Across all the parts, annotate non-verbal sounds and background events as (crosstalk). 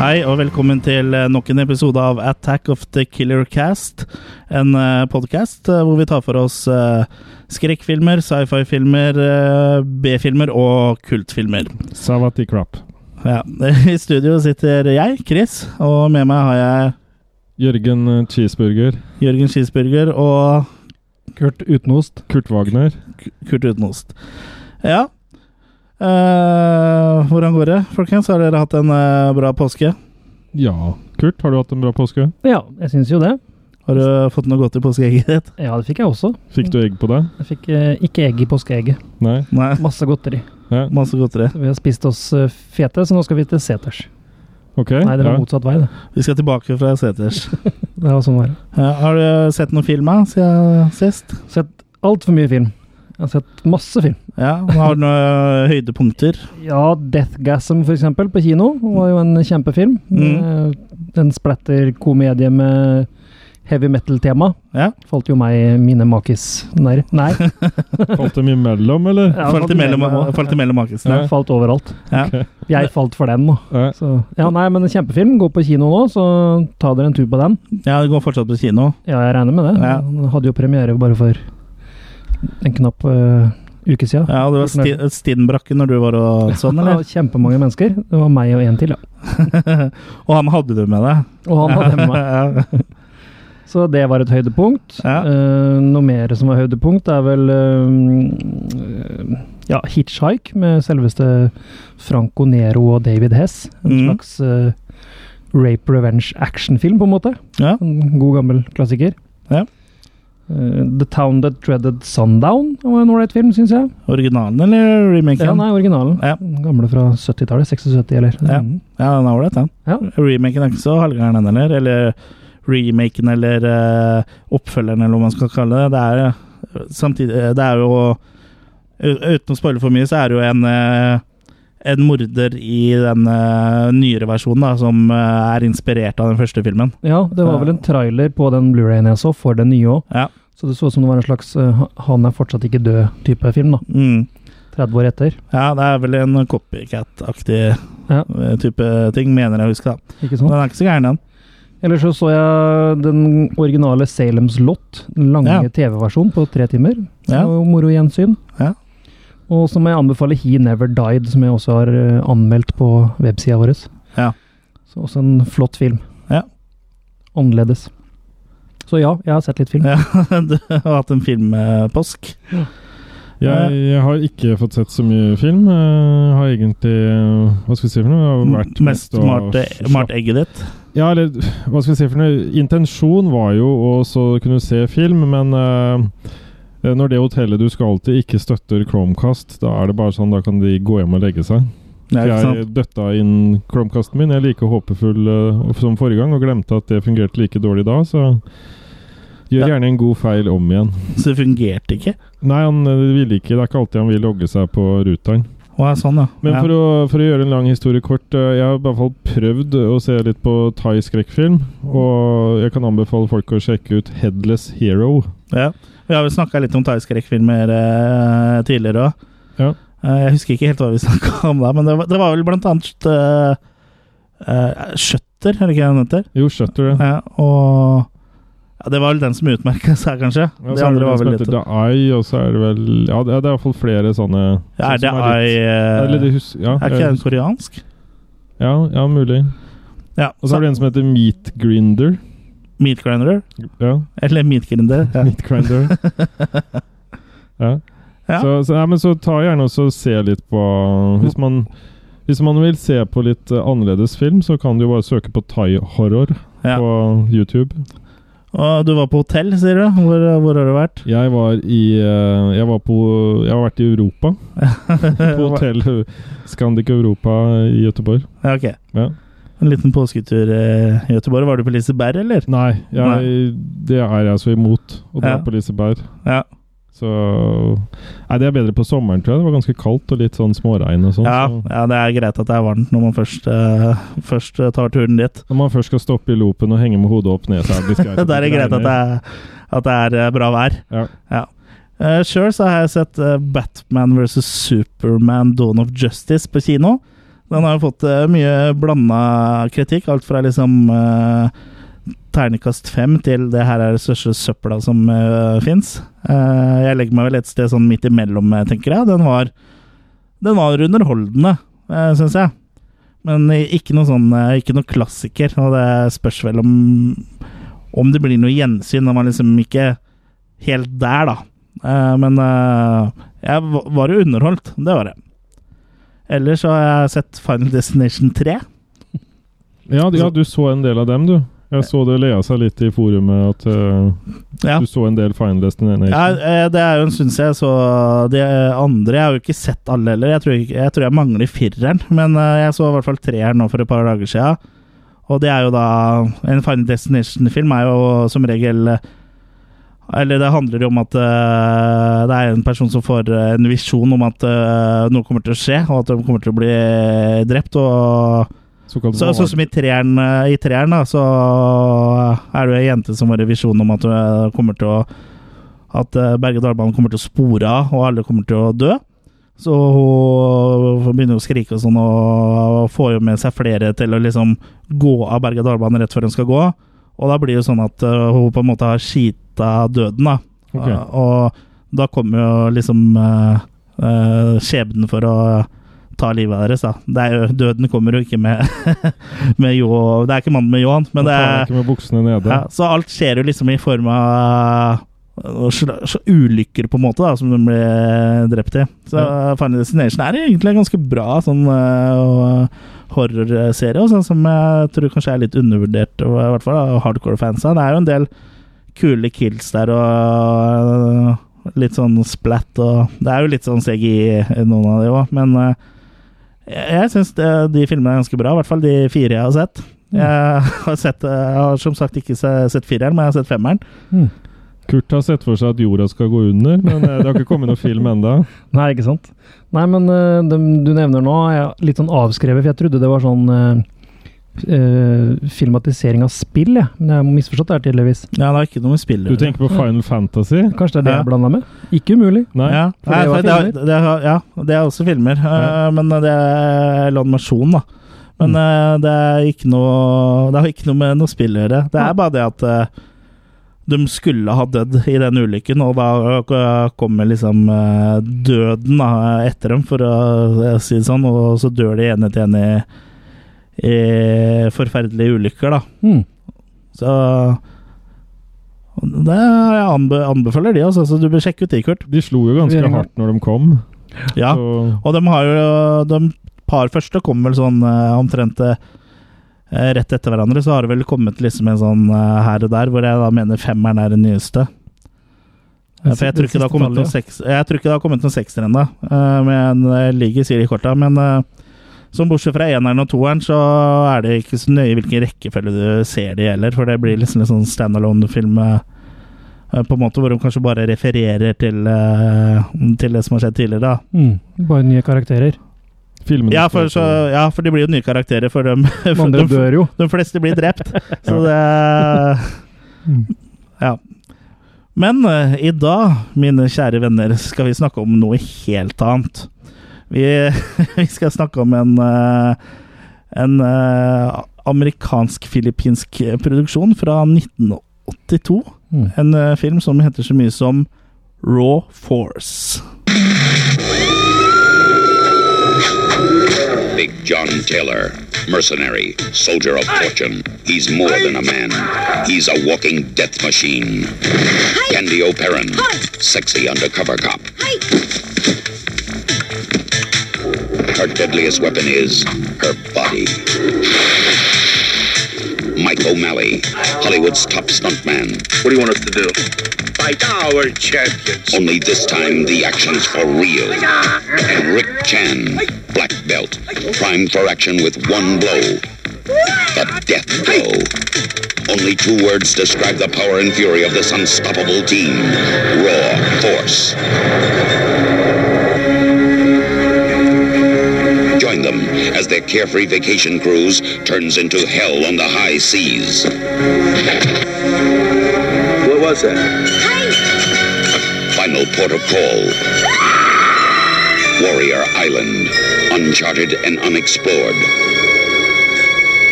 Hei og velkommen til eh, nok en episode av Attack of the Killer Cast. En uh, podkast hvor vi tar for oss eh, skrekkfilmer, sci-fi-filmer, eh, B-filmer og kultfilmer. Savati crap. Ja. (laughs) I studio sitter jeg, Chris, og med meg har jeg Jørgen eh, Cheeseburger. Jørgen Skisburger og Kurt Utenost. Kurt Wagner. Kurt Utenost. Ja. Eh, hvordan går det, folkens? Har dere hatt en eh, bra påske? Ja. Kurt, har du hatt en bra påske? Ja, jeg syns jo det. Har du fått noe godt i påskeegget ditt? Ja, det fikk jeg også. Fikk du egg på deg? Jeg fikk eh, ikke egg i påskeegget. Nei? Nei. Masse godteri. Ja. Masse godteri. Så vi har spist oss eh, fete, så nå skal vi til seters. Ok. Nei, det ja. var motsatt vei, det. Vi skal tilbake fra seters. Det var sånn det var. (laughs) Ja, har du sett noen film da, siden sist? Sett altfor mye film. Jeg har sett masse film. Ja, har du noen eh, høydepunkter? Ja, 'Deathgasm' for eksempel, på kino, var jo en kjempefilm. Mm. Eh, En splatter-komedie med heavy metal-tema. Ja. Falt jo meg mine makis nær. (laughs) Nei. Falt dem imellom, eller? Ja, falt imellom også. falt imellom Den makisene. falt overalt. Ja. Ok. Jeg falt for den, nå. Ja. Så, ja, nei, men en kjempefilm. Gå på kino nå, så ta dere en tur på den. ja, det går fortsatt på kino. Ja, jeg regner med det. Ja. Den hadde jo premiere bare for en knapp eh, uke siden. Ja, det var sti Stinbrakke når du var og sånn, (laughs) Det var eller? kjempemange mennesker. Det var meg og en til, ja. og han hadde du med deg. Og han (laughs) hadde med meg. Ja. Så det var et høydepunkt. Ja. Eh, noe mer som var høydepunkt, er vel eh, ja, Hitchhike med selveste Franco Nero og David Hess. En Mhm. slags eh, rape revenge actionfilm, på en måte. Ja. En god gammel klassiker. Ja. Eh, The Town That Dreaded Sundown var en ålreit film, syns jeg. Originalen eller remaken? Ja, Ja, nei, originalen. Ja. Den Gamle fra 70-tallet. 76, eller? Mm. Ja. den er ålreit, den. Ja. Remaken er ikke så halvgæren, den heller. Eller remaken, eller eh, oppfølgeren, eller hva man skal kalle det. Det er, eh, samtidig, eh, det er jo u- Uten å spoile for mye, så er det jo en eh, en morder i den eh, nyere versjonen da, som eh, er inspirert av den første filmen. Ja, det var vel en trailer på den Blu-rayen jeg så, for den nye òg. Eh. Ja. Så det så ut som det var en slags eh, 'han er fortsatt ikke død'-type film, da. Mm. 30 år etter. Ja, det er vel en copycat-aktig Ja. eh, type ting, mener jeg å huske. da. Ikke Den sant? er ikke så gæren, den. Ellers så så jeg den originale Salem's Lot, den lange Ja. TV-versjonen på tre timer. Ja. Det var jo moro gjensyn. Ja. Og så må jeg anbefale He Never Died, som jeg også har eh, anmeldt på websida vår. Ja. Så også en flott film. Ja. Annerledes. Så ja, jeg har sett litt film. Ja, (laughs) du har hatt en filmpåsk. Jeg, jeg har ikke fått sett så mye film. Jeg har egentlig eh, Hva skal vi si for noe? Jeg har vært Mest å malt slappe- malt egget ditt. Ja, eller hva skal vi si for noe? Intensjon var jo å så kunne se film, men eh, når det hotellet du skal til ikke støtter Chromecast, da er det bare sånn, da kan de gå hjem og legge seg. Ja, ikke sant? jeg døtta inn Chromecasten min. Jeg er like håpefull eh, som forrige gang, og glemte at det fungerte like dårlig da, så Ja. gjør gjerne en god feil om igjen. Så det fungerte ikke? Nei, han eh, ville ikke. Det er ikke alltid han vil logge seg på ruteren. Å, ja, sånn, ja. Men ja. for, å, for å gjøre en lang historie kort, eh, jeg har i hvert fall prøvd å se litt på thai-skrekkfilm. Og jeg kan anbefale folk å sjekke ut 'Headless Hero'. ja. Vi har vel snakka litt om thaiskrekkfilmer eh, tidligere òg. Ja. Eh, jeg husker ikke helt hva vi (laughs) snakka om da, men det var, det var vel blant annet eh, eh, Shutter, er det ikke det den heter? Jo, Shutter, det. Ja, og ja, Det var vel den som utmerka seg, kanskje? Ja, de så er det andre vel var en vel som litt heter The Eye, og så er det vel Ja, det er, det er i hvert fall flere sånne ja, Er det I Er, eh, eller det hus, ja, Er ikke jeg- den koreansk? ja, ja, mulig. Ja. Og så er det en som heter Meat Grinder. Meat Grinder? Ja, Eller Meat Grinder. Ja. Meat Grinder. ja. Ja. Så, så, nei, men så ta gjerne også og se litt på Hvis man, hvis man vil se på litt eh, annerledes film, så kan du jo bare søke på thai-horror Ja. på YouTube. Og du var på hotell, sier du? Hvor, hvor har du vært? Jeg var i eh, Jeg var på Jeg har vært i Europa. (laughs) På (laughs) hotell Scandic Europa i Göteborg. Ja, ok. Ja. En liten påsketur eh, i Göteborg. Var du på Liseberg, eller? Nei, jeg, det er jeg så imot. Å dra Ja. på Liseberg. Ja. Så Nei, det er bedre på sommeren, tror jeg. Det var ganske kaldt og litt sånn småregn og sånn. Ja, så- ja, det er greit at det er varmt når man først, eh, først eh, tar turen dit. Når man først skal stoppe i loopen og henge med hodet opp ned, (laughs) så er det litt greit. Der er det greit at det regner. er, at det er eh, bra vær. Ja. Uh, eh, Sjøl så har jeg sett eh, Batman versus Superman Dawn of Justice på kino. Den har jo fått eh, mye blanda kritikk. Alt fra liksom eh, terningkast fem til det her er det største søpla som uh, fins. jeg legger meg vel et sted sånn midt imellom, eh, tenker jeg. Den var, den var underholdende, uh, syns jeg. Men i- ikke noe sånn eh, Ikke noe klassiker. Og det spørs vel om Om det blir noe gjensyn når man liksom ikke helt der, da. Eh, men eh, jeg va- var jo underholdt. Det var jeg. Ellers så har jeg sett Final Destination 3. Ja, ja, du så en del av dem, du. Jeg så det lea seg litt i forumet at eh, Ja. du så en del Final Destination. Ja, eh, det er jo en stund siden jeg så de andre. Jeg har jo ikke sett alle heller. Jeg tror jeg, jeg, tror jeg mangler fireren, men eh, jeg så i hvert fall treeren nå for et par dager siden. Og det er jo da En Final Destination-film er jo som regel eh, Eller det handler jo om at eh, det er en person som får eh, en visjon om at eh, noe kommer til å skje, og at de kommer til å bli eh, drept. og Såkalt så, sånn som i treeren, eh, i treeren da, så eh, er det jo ei jente som har en visjon om at hun kommer til å At eh, berg-og-dal-banen kommer til å spore av, og alle kommer til å dø. Så hun begynner å skrike og sånn, og får jo med seg flere til å liksom gå av berg-og-dal-banen rett før hun skal gå. Og da blir det jo sånn at eh, hun på en måte har skita døden, da. Ok. Eh, og da kommer jo liksom eh, eh, skjebnen for å ta livet av deres, da. Det er jo, døden kommer jo ikke med, (laughs) med jo, Det er ikke mannen med ljåen, men det tar er ikke med buksene nede. ja, Så alt skjer jo liksom i form av øh, sl- sl- ulykker, på en måte, da, som de ble drept i. Så Ja. Final Destination er egentlig en ganske bra sånn øh, horrorserie, og sånn som jeg tror kanskje er litt undervurdert, og i hvert fall av hardcore-fansa. Det er jo en del kule kills der, og øh, litt sånn splatt, og det er jo litt sånn CGI i noen av de òg, men øh, jeg jeg syns de filmene er ganske bra, i hvert fall de fire jeg har sett. Mm. Jeg har, sett, jeg har som sagt ikke se- sett fireren, men jeg har sett femmeren. Mm. Kurt har sett for seg at jorda skal gå under, men eh, det har ikke kommet noen film enda. Nei, ikke sant? Nei, men eh, dem du nevner nå er jeg litt sånn avskrevet, for jeg trodde det var sånn eh, eh, filmatisering av spill, jeg. Men jeg har misforstått det her tydeligvis. Ja, det er ikke noe med spill. å Du gjøre. tenker på Final Fantasy? Kanskje det er det Ja. jeg blanda med? Ikke umulig. Nei? Ja, for Nei, det var for det, har- det, har- ja, det er også filmer, eh, Ja. men det er eller animasjon, da. Men eh, det er ikke noe Det har ikke noe med noe spill å gjøre. Det Nei. er bare det at eh, de skulle ha dødd i den ulykken, og da eh, kommer liksom eh, døden da, etter dem, for å si det sånn, og så dør de ene til ene i, i forferdelige ulykker, da. Hmm. Så det jeg anbe anbefaler de, altså. Så du bør sjekke ut de, Kurt. De slo jo Vi er i ganske gang. hardt når de kom. Ja. Så Og de har jo De par første kom vel sånn eh, omtrent eh, rett etter hverandre. Så har det vel kommet liksom en sånn eh, her og der, hvor jeg da mener femmeren er den nyeste. Eh, For jeg tror, ikke det har kommet noen seks, jeg tror ikke det har kommet noen sekser ennå, eh, men jeg ligger sier i korta. Men eh, som bortsett fra eneren og toeren, så er det ikke så nøye hvilken rekkefølge du ser de heller, for det blir liksom en sånn standalone-film eh, eh, på en måte hvor de kanskje bare refererer til, eh, til det som har skjedd tidligere. da. Hmm. Bare nye karakterer. filmene Ja, for, står så, på- ja, for de blir jo nye karakterer for dem. (laughs) De For andre de, dør jo. de fleste blir drept, så det Men eh, i dag, mine kjære venner, skal vi snakke om noe helt annet. Vi, (laughs) vi skal snakke om en, eh, en eh, amerikansk-filippinsk produksjon fra 1982. Hmm. En eh, film som heter så mye som Raw Force. Big John Taylor, mercenary, soldier of fortune. He's more than a man. He's a walking death machine. Candy O'Perrin, sexy undercover cop. Her deadliest weapon is her body. Mike O'Malley, Hollywood's top stuntman. What do you want us to do? Fight our champions. Only this time the action's for real. And Rick Chan, black belt, primed for action with one blow. The death blow. Only two words describe the power and fury of this unstoppable team. Raw force. Join them as their carefree vacation cruise turns into hell on the high seas. What was that? Final port of call. Warrior Island, uncharted and unexplored.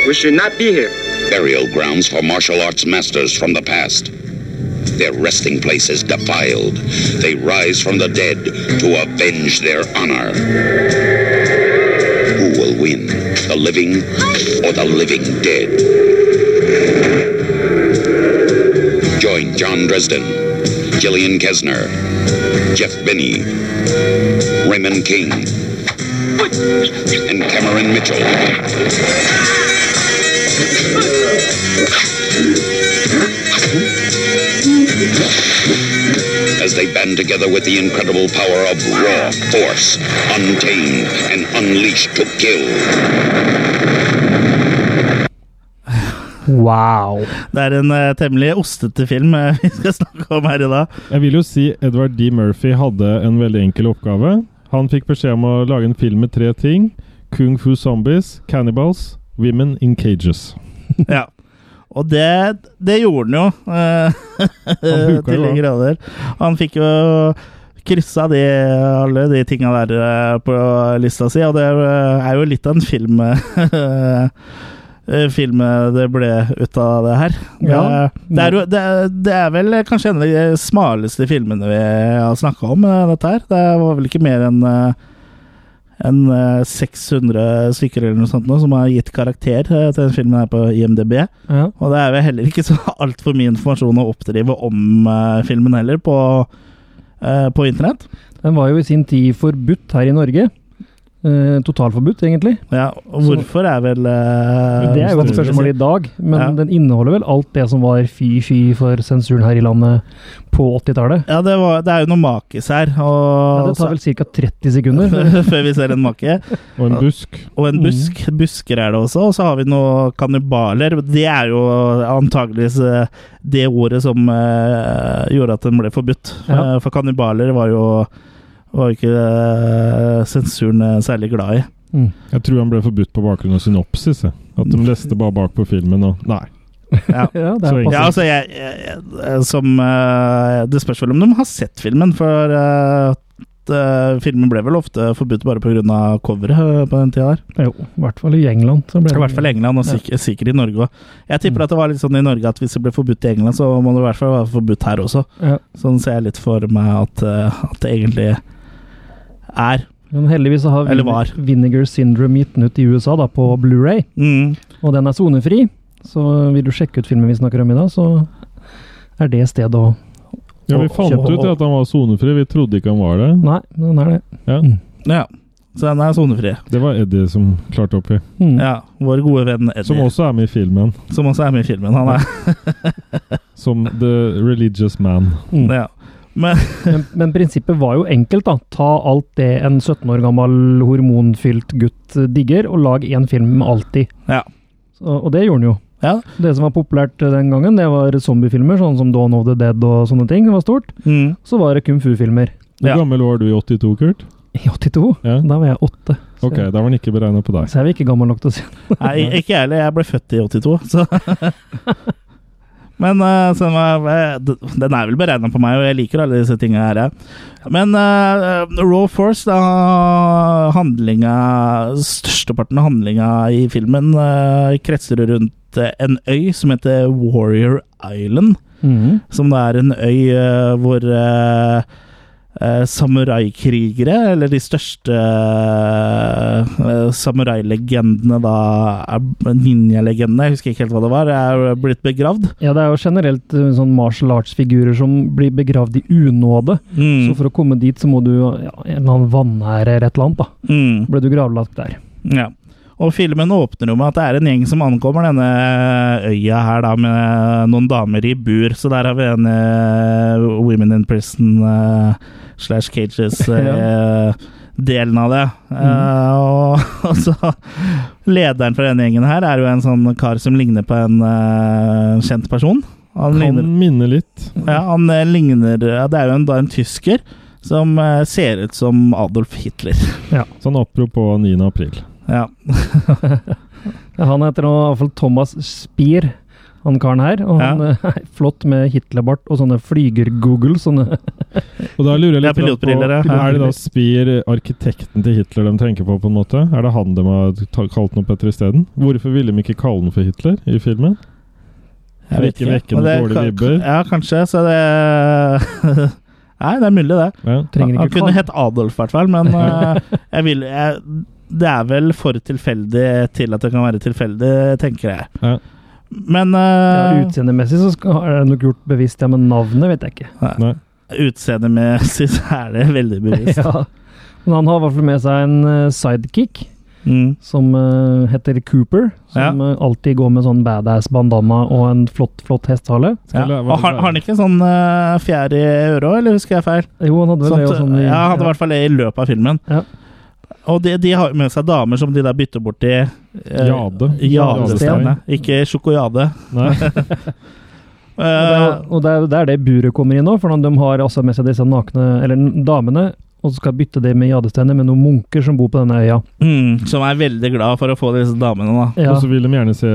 We should not be here. Burial grounds for martial arts masters from the past. Their resting place is defiled. They rise from the dead to avenge their honor. Who will win, the living or the living dead? Join John Dresden, Gillian Kesner, Jeff Binney, Raymond King, and Cameron Mitchell. as they band together with the incredible power of raw force, untamed and unleashed to kill. Wow. Det er en eh, temmelig ostete film eh, (laughs) vi skal snakke om her i dag. Jeg vil jo si Edward D. Murphy hadde en veldig enkel oppgave. Han fikk beskjed om å lage en film med tre ting. Kung fu zombies, cannibals, women in cages. (laughs) Ja. Og det, det gjorde han jo. eh, (laughs) Han huka til jo de grader. Han fikk jo kryssa de, alle de tinga der eh, på lista si, og det eh, er jo litt av en film (laughs) eh, eh, Film det ble ut av det her. Ja. Eh, Det, er, jo- det, er- det er vel kanskje en av de smaleste filmene vi har snakka om, eh, dette her. Det var vel ikke mer enn eh, enn, eh, 600 stykker eller noe sånt nå, som har gitt karakter eh, til den filmen her på IMDb. Ja. Og det er vel heller ikke (laughs) så altfor mye informasjon å oppdrive om eh, filmen heller på, eh, på internett. Den var jo i sin tid forbudt her i Norge. Eh, totalforbudt, egentlig. Ja, og Så- hvorfor er vel eh, Det er jo et vanskelig å si. spørsmål i dag, men Ja. den inneholder vel alt det som var fy-fy for sensuren her i landet på 80-tallet. Ja, det, var, det er jo noe makis her. Ja, Og, det tar vel ca. 30 (laughs) sekunder. (laughs) før vi ser en make. Og en busk. Og en busk. Busker er det også. Og så har vi noen kannibaler. Det er jo antageligvis eh, det ordet som eh, gjorde at den ble forbudt. Ja. Eh, for kannibaler var jo var jo ikke eh, sensuren eh, særlig glad i. Mm. Jeg tror han ble forbudt på bakgrunn av synopsis. Jeg. At de leste bare bak på filmen og Nei. Ja. Ja, det Så er enkelt. Ja, passe. altså, jeg, jeg, jeg som eh, Det spørs vel om de har sett filmen, for eh, at, eh, filmen ble vel ofte forbudt bare pga. coveret eh, på den tida der. Jo, i hvert fall i England. Så ble I det- hvert fall i England, og sikk- sikkert i Norge òg. Jeg tipper at det var litt sånn i Norge at hvis det ble forbudt i England, så må det i hvert fall være forbudt her også. Ja. Sånn ser jeg litt for meg at, eh, at det egentlig er. Men heldigvis så har Eller var. Vin- Vinegar Syndrome gitt den ut i USA da, på Blu-ray, Mm. og den er sonefri. Så vil du sjekke ut filmen vi snakker om i dag, så er det stedet å Ja, vi Og- fant og- ut at han var sonefri. Vi trodde ikke han var det. Nei, men den er det. Ja, Ja. Så den er sonefri. det var Eddie som klarte opp i. Mm. Ja. Vår gode venn Eddie, Som som også, også er med i filmen. er med i filmen. Han er Som The Religious Man. Mm. ja. Men Men, men prinsippet var jo enkelt, da. Ta alt det en 17 år gammel hormonfylt gutt eh, digger, og lag én film alltid. Ja. Så, og det gjorde han jo. Ja. Det som var populært eh, den gangen, det var zombiefilmer, sånn som Dawn of the Dead og sånne ting. Det var stort. mm. Så var det kung fu-filmer. Hvor Ja. gammel var du i 82, Kurt? I 82. Ja. Da var jeg åtte. Så, Ok, da var han ikke beregna på deg. så jeg var ikke gammel nok til å si det. Nei, ikke jeg heller. Jeg ble født i 82, så Men eh, så den, var, den er vel beregna på meg, og jeg liker alle disse tinga her. jeg. Men eh, Raw Force, da handlinga Størsteparten av handlinga i filmen eh, kretser rundt eh, en øy som heter Warrior Island. Mhm. Som det er en øy eh, hvor eh, eh, samuraikrigere, eller de største uh, samurailegendene, da er- ninjalegendene, jeg husker ikke helt hva det var, er blitt begravd. Ja, det er jo generelt eh, sånn martial arts-figurer som blir begravd i unåde. Mm. Så for å komme dit, så må du ja, en eller annen vanære eller et eller annet, da. Mm. Ble du gravlagt der. Ja. Og filmen åpner jo med at det er en gjeng som ankommer denne øya her da, med noen damer i bur. Så der har vi en eh, Women in Prison eh, slash Cages-delen av det. Eh, og, (laughs) og så Lederen for denne gjengen her er jo en sånn kar som ligner på en eh, kjent person. Han Han ligner, minner litt. ja, han eh, ligner ja, Det er jo en, da en tysker som eh, ser ut som Adolf Hitler. (laughs) Sånn apropos 9. april. Ja. Ja, Han heter nå i hvert fall Thomas Spier. han karen her. Og han Ja. eh, (laughs) er flott med Hitlerbart og sånne flyger-google. Sånne Og da lurer Det er jeg litt grann på, pilotbriller, ja. Er det da Spier arkitekten til Hitler de tenker på, på en måte? Er det han de har ta- kalt noe Petter isteden? Hvorfor ville de ikke kalle han for Hitler i filmen? Jeg vet Ikke vekke Men noen det- dårlige kan- vibber. Ja, kanskje, så det (laughs) Nei, det er mulig, det. Ja. trenger Han ikke kunne kall- hett Adolf, i hvert fall, (laughs) men eh, jeg vil jeg, Det er vel for tilfeldig til at det kan være tilfeldig, tenker jeg. Ja. Men ja, eh, Utseendemessig så skal, er det nok gjort bevisst, ja, men navnet vet jeg ikke. Nei. utseendemessig så er det veldig (laughs) bevisst. Ja. Men han har i hvert fall med seg en eh, sidekick Mm. som eh, heter Cooper. Som eh, alltid går med sånn badass bandana og en flott, flott hestehale. Ja. Skal det være- Og har, har han ikke sånn eh, fjær i øret òg, eller husker jeg feil? Jo, han hadde vel Sånn, det. og Sånn, i- ja, hadde i hvert fall det i løpet av filmen. Ja. Og de, de har jo med seg damer som de der bytter bort i eh, Jade. Jadestein, ja. Jadestein. Ikke Eh, sjokojade. (laughs) Nei. Og det er- og det er det, er det buret kommer inn nå, for de har altså med seg disse nakne, eller n- damene, og så skal bytte det med jadesteiner med noen munker som bor på denne øya. Eh, mm, som er veldig glad for å få disse damene, da. Ja, Og så vil de gjerne se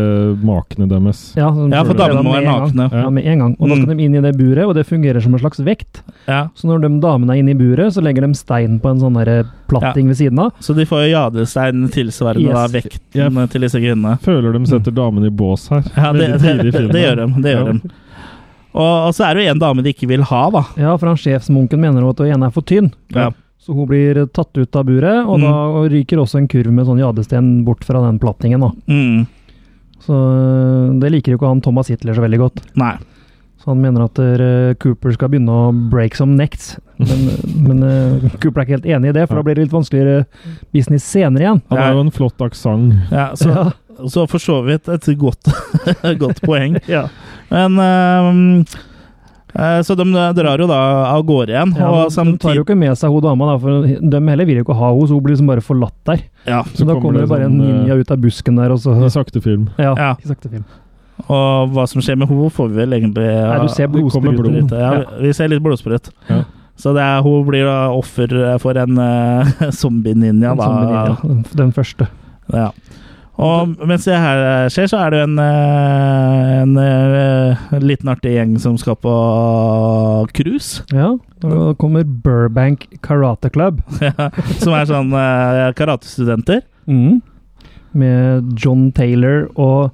makene deres. ja, så de Ja, for følger damene dem må med være en gang. nakne. Mm. Ja, med en gang. Og da skal de inn i det buret, og det fungerer som en slags vekt. Ja. Så når de damene er inne i buret, så legger de stein på en sånn der platting ved siden av. Så de får jo jadestein tilsvarende Yes. da, vekten eh, til disse kvinnene. Føler de setter damene i bås her. Mm. Ja, det, det, Veldig tidlig i det, filmen. gjør de. Det gjør Ja. de. Og, og så er det jo en dame de ikke vil ha, da. Ja, for han sjefsmunken mener jo at hun ene er for tynn. Ja. Så hun blir eh, tatt ut av buret, og Mm. da ryker også en kurv med sånn jadesten bort fra den plattingen. da. Mm. Så eh, det liker jo ikke han Thomas Hitler så veldig godt. Nei. Så han mener at eh, Cooper skal begynne å break some necks. Men, men eh, Cooper er ikke helt enig i det, for da blir det litt vanskeligere business senere igjen. Han har jo en flott aksent. Ja, så, Ja. så for så vidt et godt, (laughs) godt poeng. (laughs) Ja. Men ehm, eh, Så de drar jo da av gårde igjen. Ja, og men de tar samtidig jo ikke med seg hun dama, da, for de heller vil jo ikke ha henne, så hun blir liksom bare forlatt der. ja, Så, da kommer det sånn, bare en ninja ut av busken der, og så I sånn, eh, sakte film. Ja, Ja. i sakte film. Og hva som skjer med henne, får vi vel egentlig Nei, du ser det kommer blodspruter blod. ut. ja, Vi ser litt blodsprut. Ja. Så det er, hun blir da offer for en eh, (laughs) zombie-ninja, En sånn da. zombie ninja, den- (laughs) Den første. Ja. Og mens det her skjer, så er det jo en, eh, en eh, liten artig gjeng som skal på cruise. Ja. Da kommer Burbank Karate Club. (laughs) som er sånn eh, karatestudenter. Mm. Med John Taylor og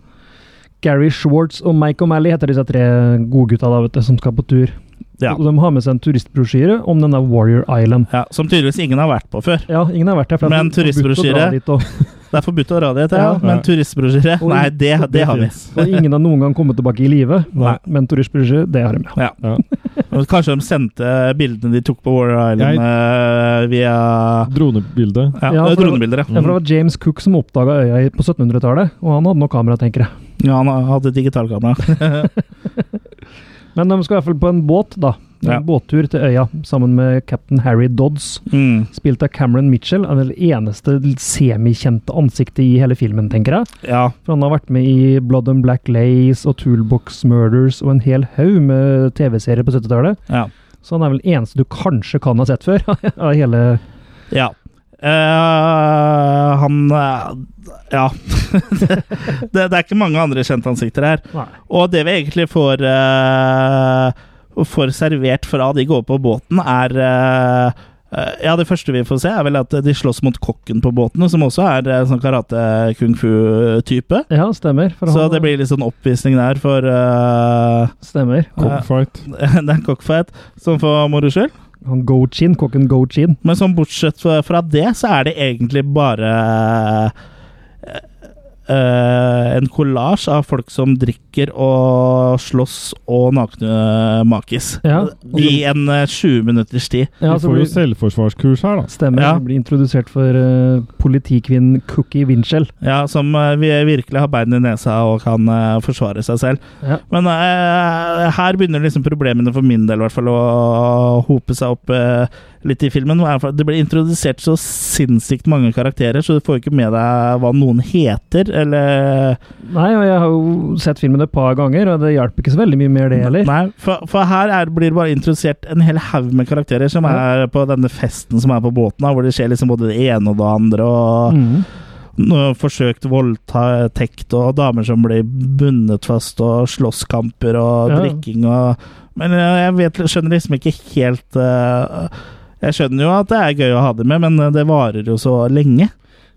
Gary Schwartz og Mike O'Malley heter disse tre godgutta da, vet du, som skal på tur. Ja. Og de har med seg en turistbrosjyre om denne Warrior Island. Ja, som tydeligvis ingen har vært på før. Ja, ingen har vært her. for det er Men forbudt å dra turistbrosjyre? dit, Og, Det er forbudt å dra dit, ja, Ja. men turistbrosjyre Oi. Nei, det, det har vi. (laughs) finnes. og ingen har noen gang kommet tilbake i (laughs) live. Nei. Men turistbrosjyre, det har de med. Ja. Ja. Og Kanskje de sendte bildene de tok på Warrior Jeg- Island eh, via Dronebildet. ja, Ja, for- dronebilder. Ja, Ja. Mm. for det var James Cook som oppdaga øya i- på 1700-tallet, og han hadde noe kamera, tenker jeg. ja, han hadde digitalkamera. Men de skal i hvert fall på en båt, da. En Ja. båttur til øya sammen med cap'n Harry Dodds. Mm. spilt av Cameron Mitchell, er det eneste semikjente ansiktet i hele filmen, tenker jeg. Ja. For han har vært med i Blood and Black Lace og Toolbox Murders og en hel haug med TV-serier på 70-tallet. ja. Så han er vel eneste du kanskje kan ha sett før (laughs) av hele Ja. Eh, han eh, Ja. (laughs) det, det er ikke mange andre kjente ansikter her. Nei. Og det vi egentlig får eh, Får servert fra de går på båten, er eh, eh, Ja, det første vi får se, er vel at de slåss mot kokken på båten, som også er eh, sånn karate-kung fu-type. Ja, stemmer. For Så han, det blir litt sånn oppvisning der for eh, (laughs) Stemmer. Cockfight. Det er en cockfight, sånn for moro skyld. Han Go-Chin, kokken Go-Chin. Men sånn bortsett fra fra det, så er det egentlig bare eh, eh, en kollasj av folk som drikker og slåss og nakne eh, makis. Ja. I en eh, 20 minutters tid. Ja, Vi så får jo blir, selvforsvarskurs her, da. stemmer. Ja. Han Blir introdusert for eh, politikvinnen Cookie Winchell. Ja, som eh, vi virkelig har bein i nesa og kan eh, forsvare seg selv. Ja. Men eh, her begynner liksom problemene for min del i hvert fall å hope seg opp eh, litt i filmen. I hvert fall, Det blir introdusert så sinnssykt mange karakterer, så du får ikke med deg hva noen heter, eller Nei, og jeg har jo sett filmen et par ganger, og det hjelper ikke så veldig mye mer, det heller. Nei, for, for her er, blir det bare introdusert en hel haug med karakterer som Ja. er på denne festen som er på båten, da, hvor det skjer liksom både det ene og det andre. Og Mm. noe forsøkt voldtekt og damer som blir bundet fast, og slåsskamper og Ja. drikking og Men eh, jeg vet, skjønner liksom ikke helt eh, Jeg skjønner jo at det er gøy å ha det med, men eh, det varer jo så lenge.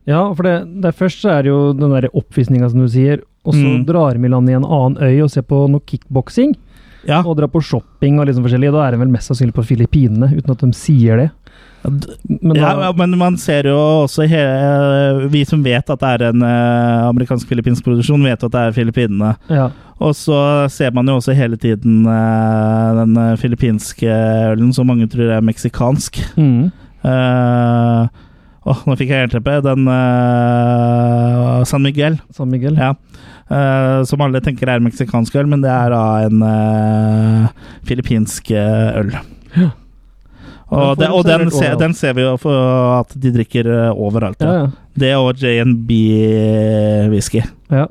Ja, for det, det er først så er det jo den der oppvisninga som du sier, og så Mm. drar vi land i en annen øy og ser på noe kickboksing. Ja, Og drar på shopping og liksom forskjellig. Da er de vel mest sannsynlig på Filippinene, uten at de sier det. Men da, ja, ja, men man ser jo også hele, Vi som vet at det er en eh, amerikansk-filippinsk produksjon, vet at det er Filippinene. ja. Og så ser man jo også hele tiden eh, den eh, filippinske ølen som mange tror er meksikansk. Mm. Eh, Åh, nå fikk jeg jernteppe. Den eh, San Miguel, San Miguel. ja. Eh, som alle tenker er meksikansk øl, men det er da en eh, filippinsk eh, øl. Og, Den får det, de og den, servert ser, overalt. den ser vi jo for at de drikker eh, overalt. Ja, Ja. ja. Det og eh, JNB-whisky. ja.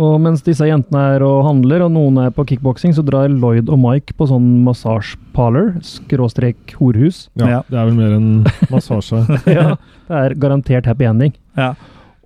Og mens disse jentene er og handler, og noen er på kickboksing, så drar Lloyd og Mike på sånn massasjeparlor, skråstrek horhus. Ja, Ja. Det er vel (laughs) mer en massasje. (laughs) ja. Det er garantert happy ending. Ja.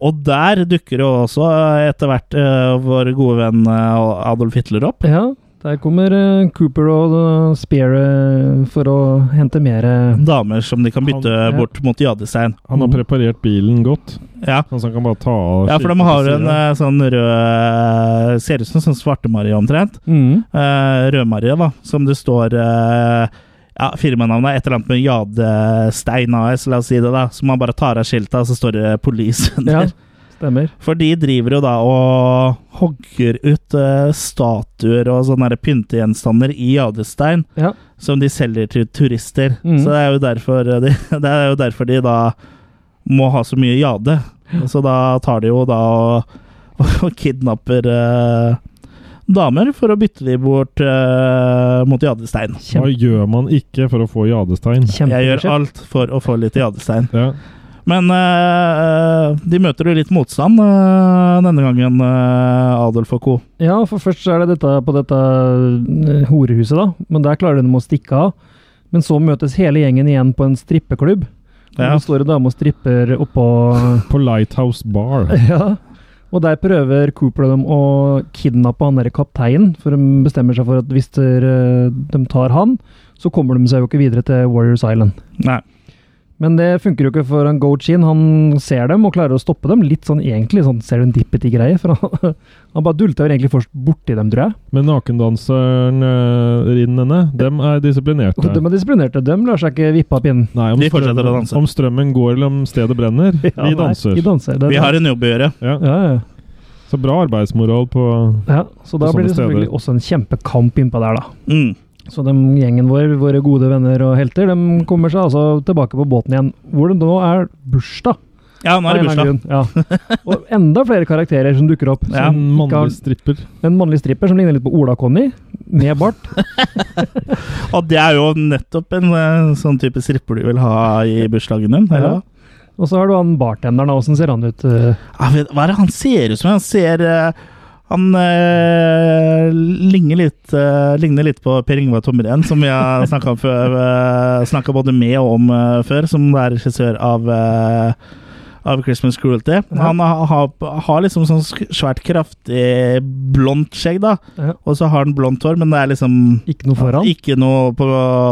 Og der dukker jo også eh, etter hvert eh, vår gode venn eh, Adolf Hitler opp. Ja, der kommer eh, Cooper og eh, Spear eh, for å hente mer eh, Damer som de kan bytte Han- ja. bort mot jadestein. Han har preparert bilen godt, Ja. sånn at han kan bare ta av Ja, for de skiltet har til en siden. eh, sånn rød Ser ut som sånn Svarte-Marie omtrent. mm. Eh, Rød-Marie, da, som det står eh, ja, Firmanavnet er et eller annet med Jadestein AS, la oss si det, da. Så man bare tar av skiltet, og så står det 'Police' (laughs) under. Ja, stemmer. For de driver jo da og hogger ut eh, statuer og sånne her pyntegjenstander i jadestein Ja. som de selger til turister. Mhm. Så det er, jo derfor eh, (laughs) de, det er jo derfor de da må ha så mye jade. Så da tar de jo da og, (laughs) og kidnapper eh, damer for å bytte de bort eh, mot jadestein. Hva Kjempe, gjør man ikke for å få jadestein? Jeg gjør kjempe alt for å få litt jadestein. Ja. Men eh, de møter jo litt motstand eh, denne gangen, eh, Adolf og co. Ja, for først så er det dette på dette eh, horehuset, da. Men der klarer de å stikke av. Men så møtes hele gjengen igjen på en strippeklubb. Ja. Ja. Nå står en dame og stripper oppå På Lighthouse Bar. Ja. Og der prøver Cooper og dem å kidnappe han derre kapteinen, for de bestemmer seg for at hvis der, eh, de tar han, så kommer de seg jo ikke videre til Warriors Island. Nei. Men det funker jo ikke for han Go-Chin. Han ser dem og klarer å stoppe dem. Litt sånn egentlig sånn serendipity-greie. For han, (laughs) han bare dulter jo egentlig først borti dem, tror jeg. Men nakendanserinnene, dem er Og disiplinerte. de er disiplinerte. De lar seg ikke vippe av pinnen. Nei, om De fortsetter strømmen- å danse. Om strømmen går eller om (laughs) stedet brenner, Ja, vi nei, danser. De danser. Det, Vi har en jobb å gjøre. ja. ja, ja. Så bra arbeidsmoral på ja, så På da sånne blir det selvfølgelig steder. også en kjempekamp innpå der, da. Mm. Så de gjengen vår, våre gode venner og helter, de kommer seg altså tilbake på båten igjen. Hvor det nå er bursdag. Ja, nå er det bursdag. Av en eller annen grunn. Ja. Og enda flere karakterer som dukker opp. Ja, en som sånn ikke har- mannlig stripper. en mannlig stripper som ligner litt på Ola-Conny, med bart. (laughs) Og det er jo nettopp en eh, sånn type stripper du vil ha i bursdagen din. eller Ja. hva? Og så har du han bartenderen, da. Åssen ser han ut? eh? Ja, vet- hva er det han ser ut som? Han ser eh, Han eh, ligner, litt, eh, ligner litt på Per Ingvar Tomren, som vi har (laughs) snakka om før. eh, snakket både med og om eh, før, som er regissør av eh, av Christmas Cruelty. Han har, har, har liksom sånn sk- svært kraftig blondt skjegg, da. Ja. Og så har han blondt hår, men det er liksom Ikke noe foran? (laughs) ikke noe på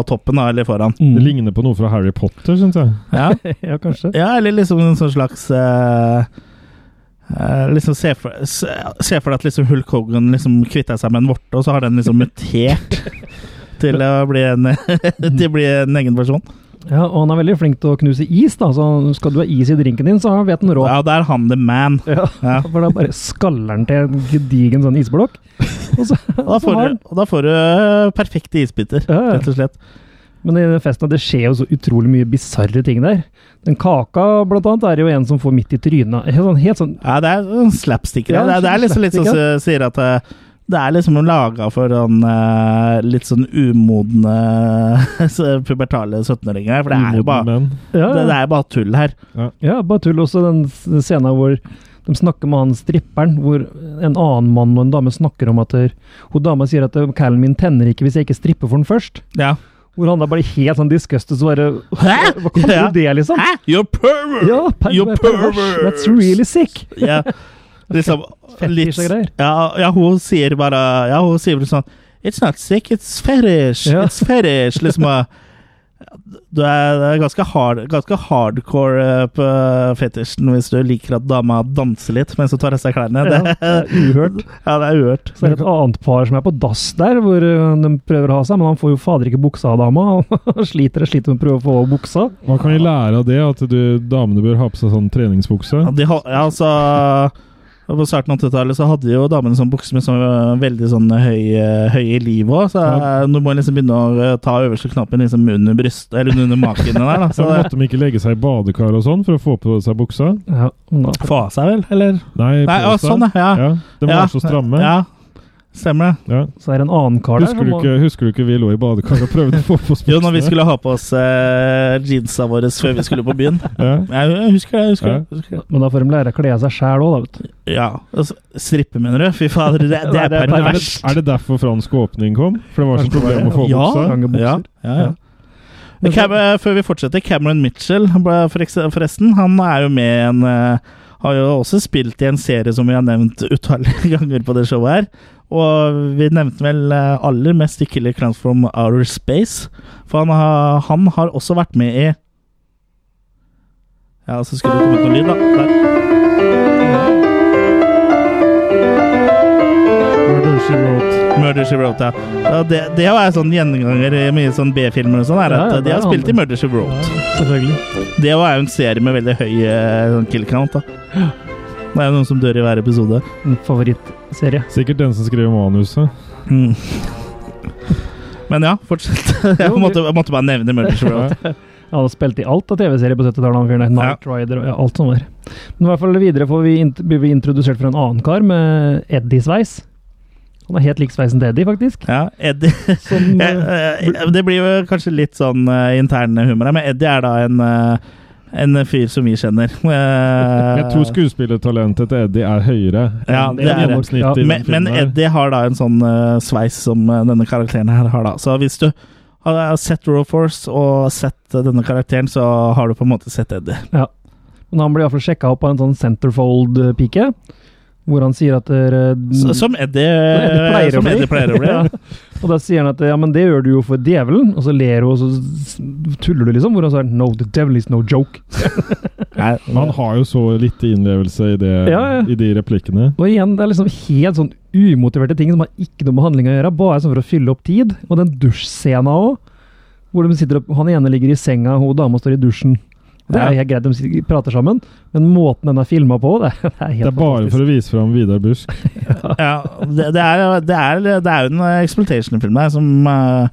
toppen da, eller foran. Det Mm. ligner på noe fra Harry Potter, syns jeg. Ja. Ja, kanskje. Ja, eller liksom en sånn slags eh, eh, liksom se for, se, se for deg at liksom Hulk Hogan liksom kvitta seg med en vorte, og så har den liksom mutert til å bli en, (laughs) til å bli en egen person. Ja, og han er veldig flink til å knuse is, da. Så skal du ha is i drinken din, så vet han råd. Ja, og der er han the man. Ja. Ja. For da bare skaller han til en gedigen (laughs) sånn isblokk. Og så, Og da og så får har du, han og da får du eh, perfekte isbiter, Ja, ja. rett og slett. Men i den festen det skjer jo så utrolig mye bisarre ting der. Den kaka, blant annet, er jo en som får midt i trynet. Helt sånn, helt sånn Ja, det er en slapstick. Ja, Ja, det, er- det er liksom litt sånn slapstick, som sier at eh, det er liksom laga for sånn, eh, litt sånn umodne (laughs) så pubertale 17-åringer. For det er jo Umoden bare, menn. ja, det, det er bare tull her. ja, bare tull. Også den s- scenen hvor de snakker med han stripperen, hvor en annen mann eh, og en dame snakker om at der, hun dama sier at «Øh, callen min tenner ikke hvis jeg ikke stripper for den først. Ja. Hvor han da bare helt sånn disgusted så bare Hæ? Hva kaller Ja. du det, liksom? Hæ? You're pervert! Ja, per You're pervers. pervert! That's really sick! Ja, (laughs) liksom, litt, Fetisj og greier. ja, ja, hun sier bare Ja, hun sier vel sånn It's not sick, it's fetish. Ja. It's fetish. Liksom og- Du er, det er ganske, hard, ganske hardcore eh, på fetisjen hvis du liker at dama danser litt mens hun tar av seg klærne. Ja, Det, det er uhørt. (laughs) ja, det er uhørt. Så er det et annet par som er på dass der, hvor øh, de prøver å ha seg, men han får jo fader ikke buksa av dama. (laughs) Han sliter og sliter med å prøve å få av buksa. Hva kan vi lære av det? At du, damene bør ha på seg sånn treningsbukse? Ja, de, hol- ja, altså På starten av 80-tallet så hadde jo damene sånn bukser med sånn øh, veldig sånn høy, øh, høy i livet òg, så Ja. øh, du må liksom begynne å øh, ta øverste knappen liksom under brystet, eller under makene der, da. (laughs) Så Så det måtte de ikke legge seg i badekar og sånn for å få på seg buksa? Ja, men da- få av seg vel, eller? Nei, Nei, å, på seg. sånn, ja. ja. Ja, De var Ja, så stramme. Ja, stemmer det. Ja. så er det en annen kar der. Husker, du som- ikke, husker du ikke vi lå i badekar og prøvde å få på oss Jo, når vi skulle ha på oss øh, jeansa våre før vi skulle på byen. ja. Jeg, jeg husker det. jeg husker det, jeg husker det. Men da får de lære å kle av seg sjæl òg, da, vet du. Ja. Altså, strippe, mener du? Fy fader, det, det er Nei, det er Er det, perverst. er det derfor fransk åpning kom? For det var sånn Kanskje problem å få Ja. buksa? Lange bukser. Ja, ja, ja. Men Cam eh, før vi fortsetter, Cameron Mitchell, ble- for ekse- forresten, han er jo med i en eh, Har jo også spilt i en serie som vi har nevnt utallige (laughs) ganger på det showet her. Og vi nevnte vel eh, aller mest i Killer Clowns from Outer Space. For han har, han har også vært med i Ja, så skulle det komme ut noe lyd, da. Der. Murder, she wrote. Murder She Wrote, ja. Ja, Det, det er jo sånn gjenganger i mye sånn B-filmer og sånn, er Ja, at ja, eh, de det har er spilt han. i Murder She Ja, Wrote. selvfølgelig. Det er jo en serie med veldig høy eh, sånn kill count. da. Det er jo noen som dør i hver episode. En favorittserie. Sikkert den som skrev manuset. Mm. Men ja, fortsett. (laughs) Jeg måtte, jeg måtte bare nevne Murder She (laughs) Wrote. Ja, han spilte i alt av TV-serier på 70-tallet, han fyren der. Night Rider og ja, alt som var. Men i hvert fall videre får vi int blir vi introdusert for en annen kar med Eddie-sveis. Han er helt lik sveisen til Eddie, faktisk. Ja, Eddie (laughs) Sånn, Som, Eh, eh, eh, Det blir jo kanskje litt sånn eh, intern humor her, men Eddie er da en eh, en fyr som vi kjenner. (laughs) Eh, Jeg tror skuespillertalentet til Eddie er høyere Ja, enn det er det. gjennomsnittet Ja, i den men, men filmen her. Eddie har da en sånn eh, sveis som eh, denne karakteren her har, da. Så hvis du har eh, sett Row Force og sett eh, denne karakteren, så har du på en måte sett Eddie. men han blir iallfall sjekka opp av en sånn centerfold-pike, hvor han sier at dere- Så, som Eddie, Mm. Eddie pleier å som bli. Eddie pleier å (laughs) bli. Ja. Og da sier han at eh, ja, men det gjør du jo for djevelen, og så ler hun, og så s- tuller du, liksom. Hvor han sier no, the devil is no joke. Nei, Han har jo så lite innlevelse i, det, Ja, ja. i de replikkene. Og igjen, det er liksom helt sånn umotiverte ting som har ikke noe med handlinga å gjøre, bare sånn for å fylle opp tid. Og den dusjscena òg, hvor de sitter opp, han ene ligger i senga, hun dama står i dusjen. Og Det er Ja. helt greit, de sitter- prater sammen, men måten den er filma på, det, er- (laughs) det er helt Det er bare for å vise fram Vidar Busk. ja, det, det, er, det, er, det er jo en eh, exploitation-film her som eh,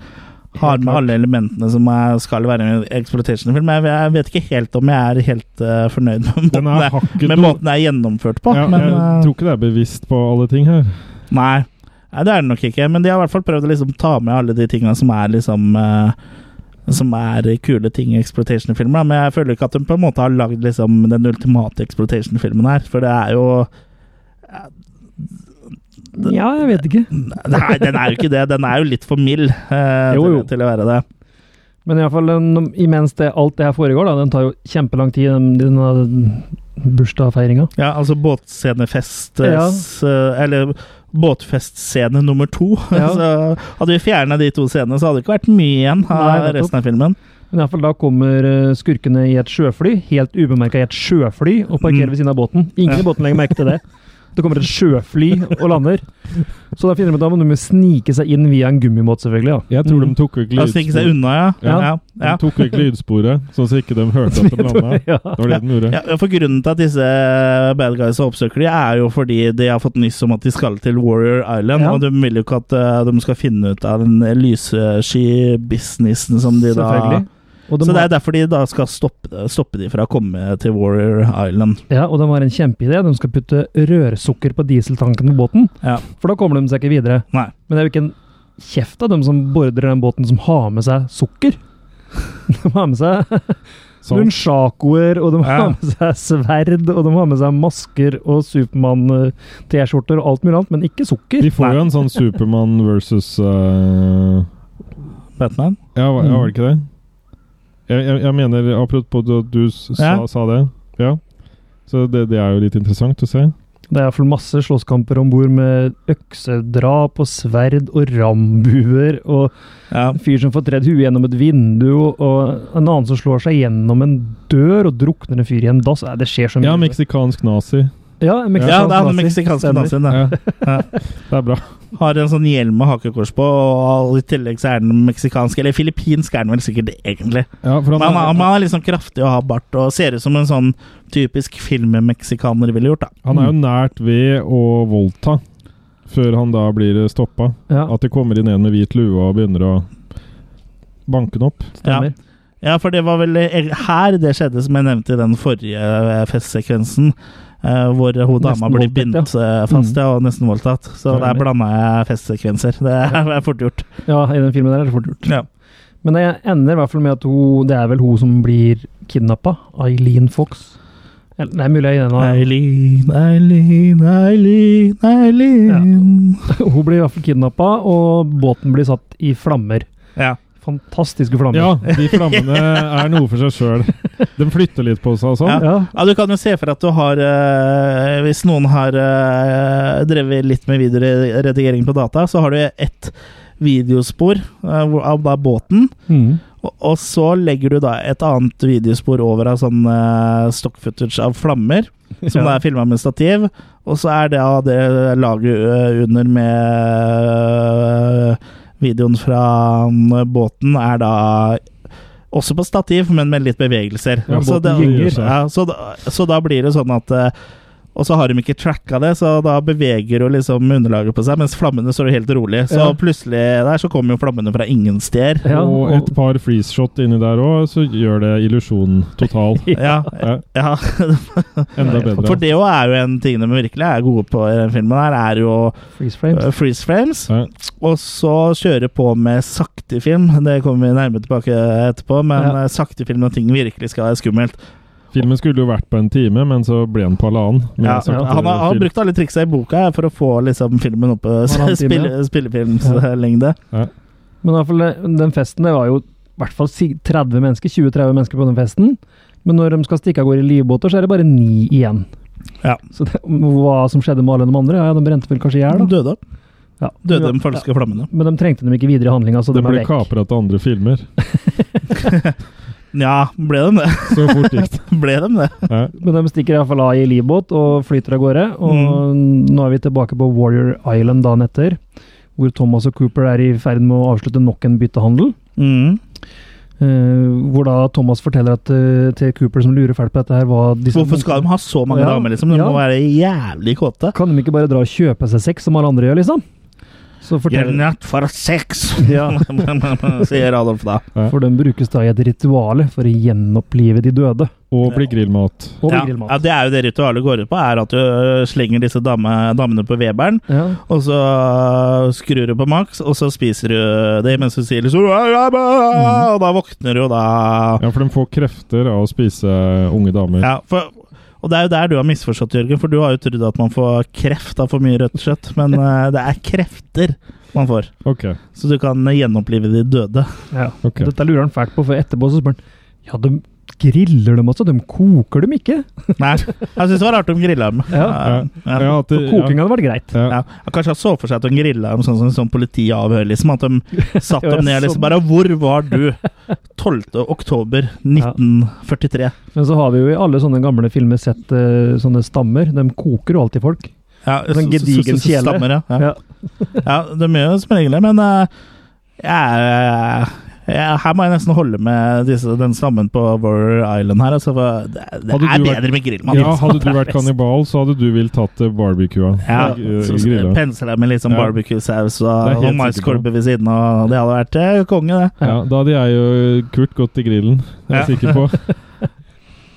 har med alle elementene som er, skal være en exploitation-film. Jeg, jeg vet ikke helt om jeg er helt eh, fornøyd med Den måten, er det, hakket med måten det er gjennomført på. ja, men, Jeg eh, tror ikke det er bevisst på alle ting her. Nei, Nei, det er det nok ikke. Men de har i hvert fall prøvd å liksom ta med alle de tinga som er liksom eh, Som er kule ting i exploitation-filmer. da. Men jeg føler ikke at de på en måte har lagd liksom den ultimate exploitation-filmen her. For det er jo for Ja, jeg vet ikke. Nei, den er jo ikke det. Den er jo litt for mild eh, Jo, jo. Til, til å være det. Men iallfall imens det, alt det her foregår, da, den tar jo kjempelang tid, den, den bursdagsfeiringa. Ja, altså båtscenefest eh, Ja. s- eh, Eller båtfestscene nummer to. (laughs) Ja. Så hadde vi fjerna de to scenene, så hadde det ikke vært mye igjen av Nei, nettopp. resten av filmen. Men i hvert fall da kommer eh, skurkene i et sjøfly, helt ubemerka i et sjøfly, og parkerer Mm. ved siden av båten. Ingen i båten legger merke til det. Det kommer et sjøfly og lander. Så da finner de ut at de må snike seg inn via en gummibåt, selvfølgelig. da. Mm. Jeg tror de tok vekk Mm. La oss stikke seg lydsporet. Altså, unna, ja. Ja. ja. ja. De tok vekk lydsporet, sånn at ikke de (laughs) hørte at de landa. (laughs) Ja. Det var det de gjorde. Ja, for Grunnen til at disse bad guysa oppsøker de, er jo fordi de har fått nyss om at de skal til Warrior Island. Ja. Og de vil jo ikke at eh, de skal finne ut av den lyssky-businessen som de da Selvfølgelig. Og de, Så det er har, derfor de da skal stoppe, stoppe de fra å komme til Warrior Island. ja, og de har en kjempeidé. De skal putte rørsukker på dieseltanken på båten, Ja. for da kommer de seg ikke videre. Nei. Men det er jo ikke en kjeft av dem som bordrer den båten, som har med seg sukker. (laughs) De har med seg Sånn. Nunchakoer, og de har Ja. med seg sverd, og de har med seg masker og Supermann-T-skjorter og alt mulig annet, men ikke sukker. De får jo en sånn Supermann versus eh, Batman? Ja, var, ja, var det ikke det? Jeg, jeg, jeg mener, apropos at du s- sa, Ja. sa det Ja. Så det, det er jo litt interessant å se. Det er iallfall masse slåsskamper om bord med øksedrap og sverd og rambuer og Ja. en fyr som får tredd huet gjennom et vindu, og en annen som slår seg gjennom en dør og drukner en fyr i en dass. Nei, Det skjer så mye. Ja, meksikansk nazi. Ja, en meksikansk ja, det er han nazi. meksikanske nazien. Stemmer. Ja. (laughs) da. Det er bra. Har en sånn hjelm med hakekors på, og i tillegg så er den meksikansk. Eller filippinsk er den vel sikkert egentlig. Ja, for Men han, er- han, er, han er liksom kraftig og har bart og ser ut som en sånn typisk filmmexikaner ville gjort, da. han er jo nært ved å voldta før han da blir stoppa. Ja, At det kommer inn en med hvit lue og begynner å banke den opp. stemmer. Ja, for det var vel eh, her det skjedde, som jeg nevnte i den forrige eh, festsekvensen. eh, hvor hun dama Nesten blir voldtatt, bindt eh, fast ja, og nesten voldtatt. Så Stemmer. der blanda jeg eh, festsekvenser. (laughs) Det er, er fort gjort. Ja. i den filmen der er det fort gjort. Ja. Men det ender i hvert fall med at hun, det er vel hun som blir kidnappa. Eileen Fox. Eller, det er mulig jeg er enig i Eileen, Eileen, Eileen, Eileen. det. (laughs) Hun blir i hvert fall kidnappa, og båten blir satt i flammer. Ja. Fantastiske flammer. Ja, de flammene er noe for seg sjøl. De flytter litt på seg og sånn. Ja. Ja, du kan jo se for at du har eh, Hvis noen har eh, drevet litt med videoredigering på data, så har du ett videospor eh, hvor- av da båten. Mm. Og, og så legger du da et annet videospor over av sånn eh, stock footage av flammer, som da er Ja. filma med stativ. Og så er det av det laget eh, under med eh, videoen fra eh, båten, er da også på stativ, men med litt bevegelser. Ja, så, båten det, gynger. ja, så, da, så da blir det sånn at eh, og så har de ikke tracka det, så da beveger jo liksom underlaget på seg, mens flammene står jo helt rolig. Så Ja. plutselig der så kommer jo flammene fra ingen steder. Ja, og et par freeze-shot inni der òg, så gjør det illusjonen total. Ja, Ja, ja. enda For bedre. det jo er jo en ting de virkelig er gode på i den filmen, her, er jo Freeze frames. eh, freeze frames. Ja. Og så kjøre på med sakte film. Det kommer vi nærmere tilbake etterpå, men Ja. eh, sakte film når ting virkelig skal være skummelt. Filmen skulle jo vært på en time, men så ble den på halvannen. Men Ja, jeg sa han, ikke har, han har film. brukt alle triksa i boka her for å få liksom, filmen opp på Halvannen (laughs) time, spille, ja. spillefilmslengde. Men i hvert fall, eh, den festen det var jo i hvert fall si- 30 mennesker, 20-30 mennesker på den festen. Men når de skal stikke av gårde i livbåter, så er det bare ni igjen. Ja. Så det, hva som skjedde med alle de andre? Ja, ja, de brente vel kanskje i hjel, da. Døde Ja. Døde de Ja. falske flammene. Men de trengte dem ikke videre i handlinga, så de Den ble er vekk. kapra til andre filmer. Ja, ble de det? (laughs) Så fort gikk det. ble de det? Ja. Men de stikker iallfall av i livbåt og flyter av gårde. Og Mm. nå er vi tilbake på Warrior Island dagen etter, hvor Thomas og Cooper er i ferd med å avslutte nok en byttehandel. Mm. Eh, hvor da Thomas forteller at, eh, til Cooper, som lurer fælt på dette her, hva disse Hvorfor skal de ha så mange Ja, damer, liksom? De ja. må være jævlig kåte. Kan de ikke bare dra og kjøpe seg sex som alle andre gjør, liksom? Så You're fortell, not for sex! ja, (laughs) sier Adolf da. for den brukes da i et rituale for å gjenopplive de døde. Og bli grillmat. Og Ja, bli grillmat. ja, det er jo det ritualet går ut på, er at du ø, slenger disse dame, damene på weberen, Ja. og så ø, skrur du på maks, og så spiser du det mens du sier liksom Mm. Og da våkner du jo da Ja, for de får krefter av å spise unge damer. ja, for, Og det er jo der du har misforstått, Jørgen, for du har jo trodd at man får kreft av for mye rødt kjøtt, (laughs) men ø, det er krefter man får. Ok, Så du kan gjenopplive de døde. Ja. ok. Dette lurer han fælt på, for etterpå så spør han Ja, de griller dem altså? De koker dem ikke? Nei, jeg syns det var rart om grilla dem. Ja. Ja. Ja, at det, Koking ja. hadde vært greit. Ja. Ja. han Kanskje han så for seg at de grilla dem sånn som sånn politiavhør, liksom. At de satt Ja, dem ned sånn. liksom bare 'Hvor var du 12. oktober 1943?' Men så har vi jo i alle sånne gamle filmer sett eh, sånne stammer. De koker jo alltid folk. Ja, Sånn så- så- så- gedigen så- så- stammer, ja. Ja. Ja. ja, de gjør jo som regel det, men eh, jeg- eh, jeg- her må jeg nesten holde med disse, den stammen på Warrior Island her. Altså, for det det er Hadde du vært- bedre med grillmat. ja, hadde (laughs) du vært kannibal, så hadde du villet tatt eh, barbecua. Ja, Gr- så- så grilla. Pensle deg med litt sånn Ja. barbecue-saus Det er og, helt og sikkert på. maiskolbe ved siden av. Det hadde vært eh, konge, det. Ja, da hadde jeg og Kurt gått til grillen, jeg er Ja. sikker (laughs) på.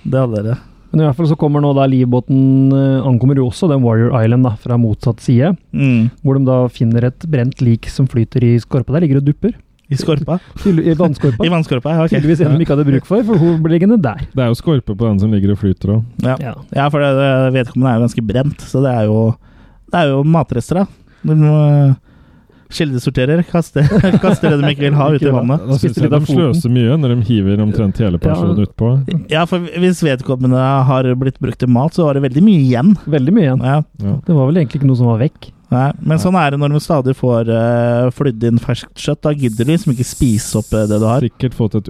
Det hadde det. Men i hvert fall så kommer nå da livbåten eh, Ankommer jo også den Warrior Island, da, fra motsatt side. Mm. Hvor de da finner et brent lik som flyter i skorpa. Der ligger det og dupper. I skorpa? Tydelig- I vannskorpa. I vannskorpa, ja. ok. Tydeligvis en de ikke hadde bruk for, for hun ble liggende der. Det er jo skorpe på den som ligger og flyter òg. Ja. Ja, for det, det, vedkommende er jo ganske brent, så det er jo, det er jo matrester, da. Du må eh, kildesorterer. (laughs) Kaster, kaster det de ikke vil ha, ut i vannet. Da syns jeg Spytter litt de av foten. sløser mye når de hiver omtrent hele personen Ja. utpå. Ja, for hvis vedkommende har blitt brukt til mat, så var det veldig mye igjen. Veldig mye igjen. Ja, Ja. Det var vel egentlig ikke noe som var vekk. nei. Men sånn er det når de stadig får uh, flydd inn ferskt kjøtt. Da gidder de liksom ikke spise opp eh, det du har. Sikkert fått et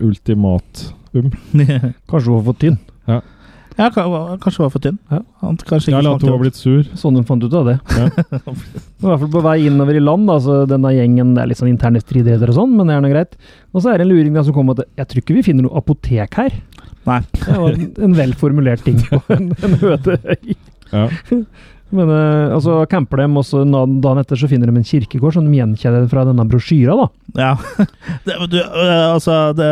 ultimatum. Kanskje hun var for tynn. (laughs) ja, ka- kanskje hun var for tynn. Ja. Han Kanskje ikke Ja, eller at hun smakte har opp. blitt sur. Sånn hun fant ut av det. (laughs) Ja. I hvert fall på vei innover i land, da, så denne gjengen det er litt sånn interne stridigheter og sånn, men det er nå greit. Og så er det en luring da som kommer at jeg tror ikke vi finner noe apotek her. Nei. Det var en, en velformulert ting på en, en øde øy. Ja. (laughs) Men eh, altså, camper dem, og så na- dagen etter så finner de en kirkegård som de gjenkjenner fra denne brosjyra, da. Ja. (laughs) Det, du, eh, altså, det,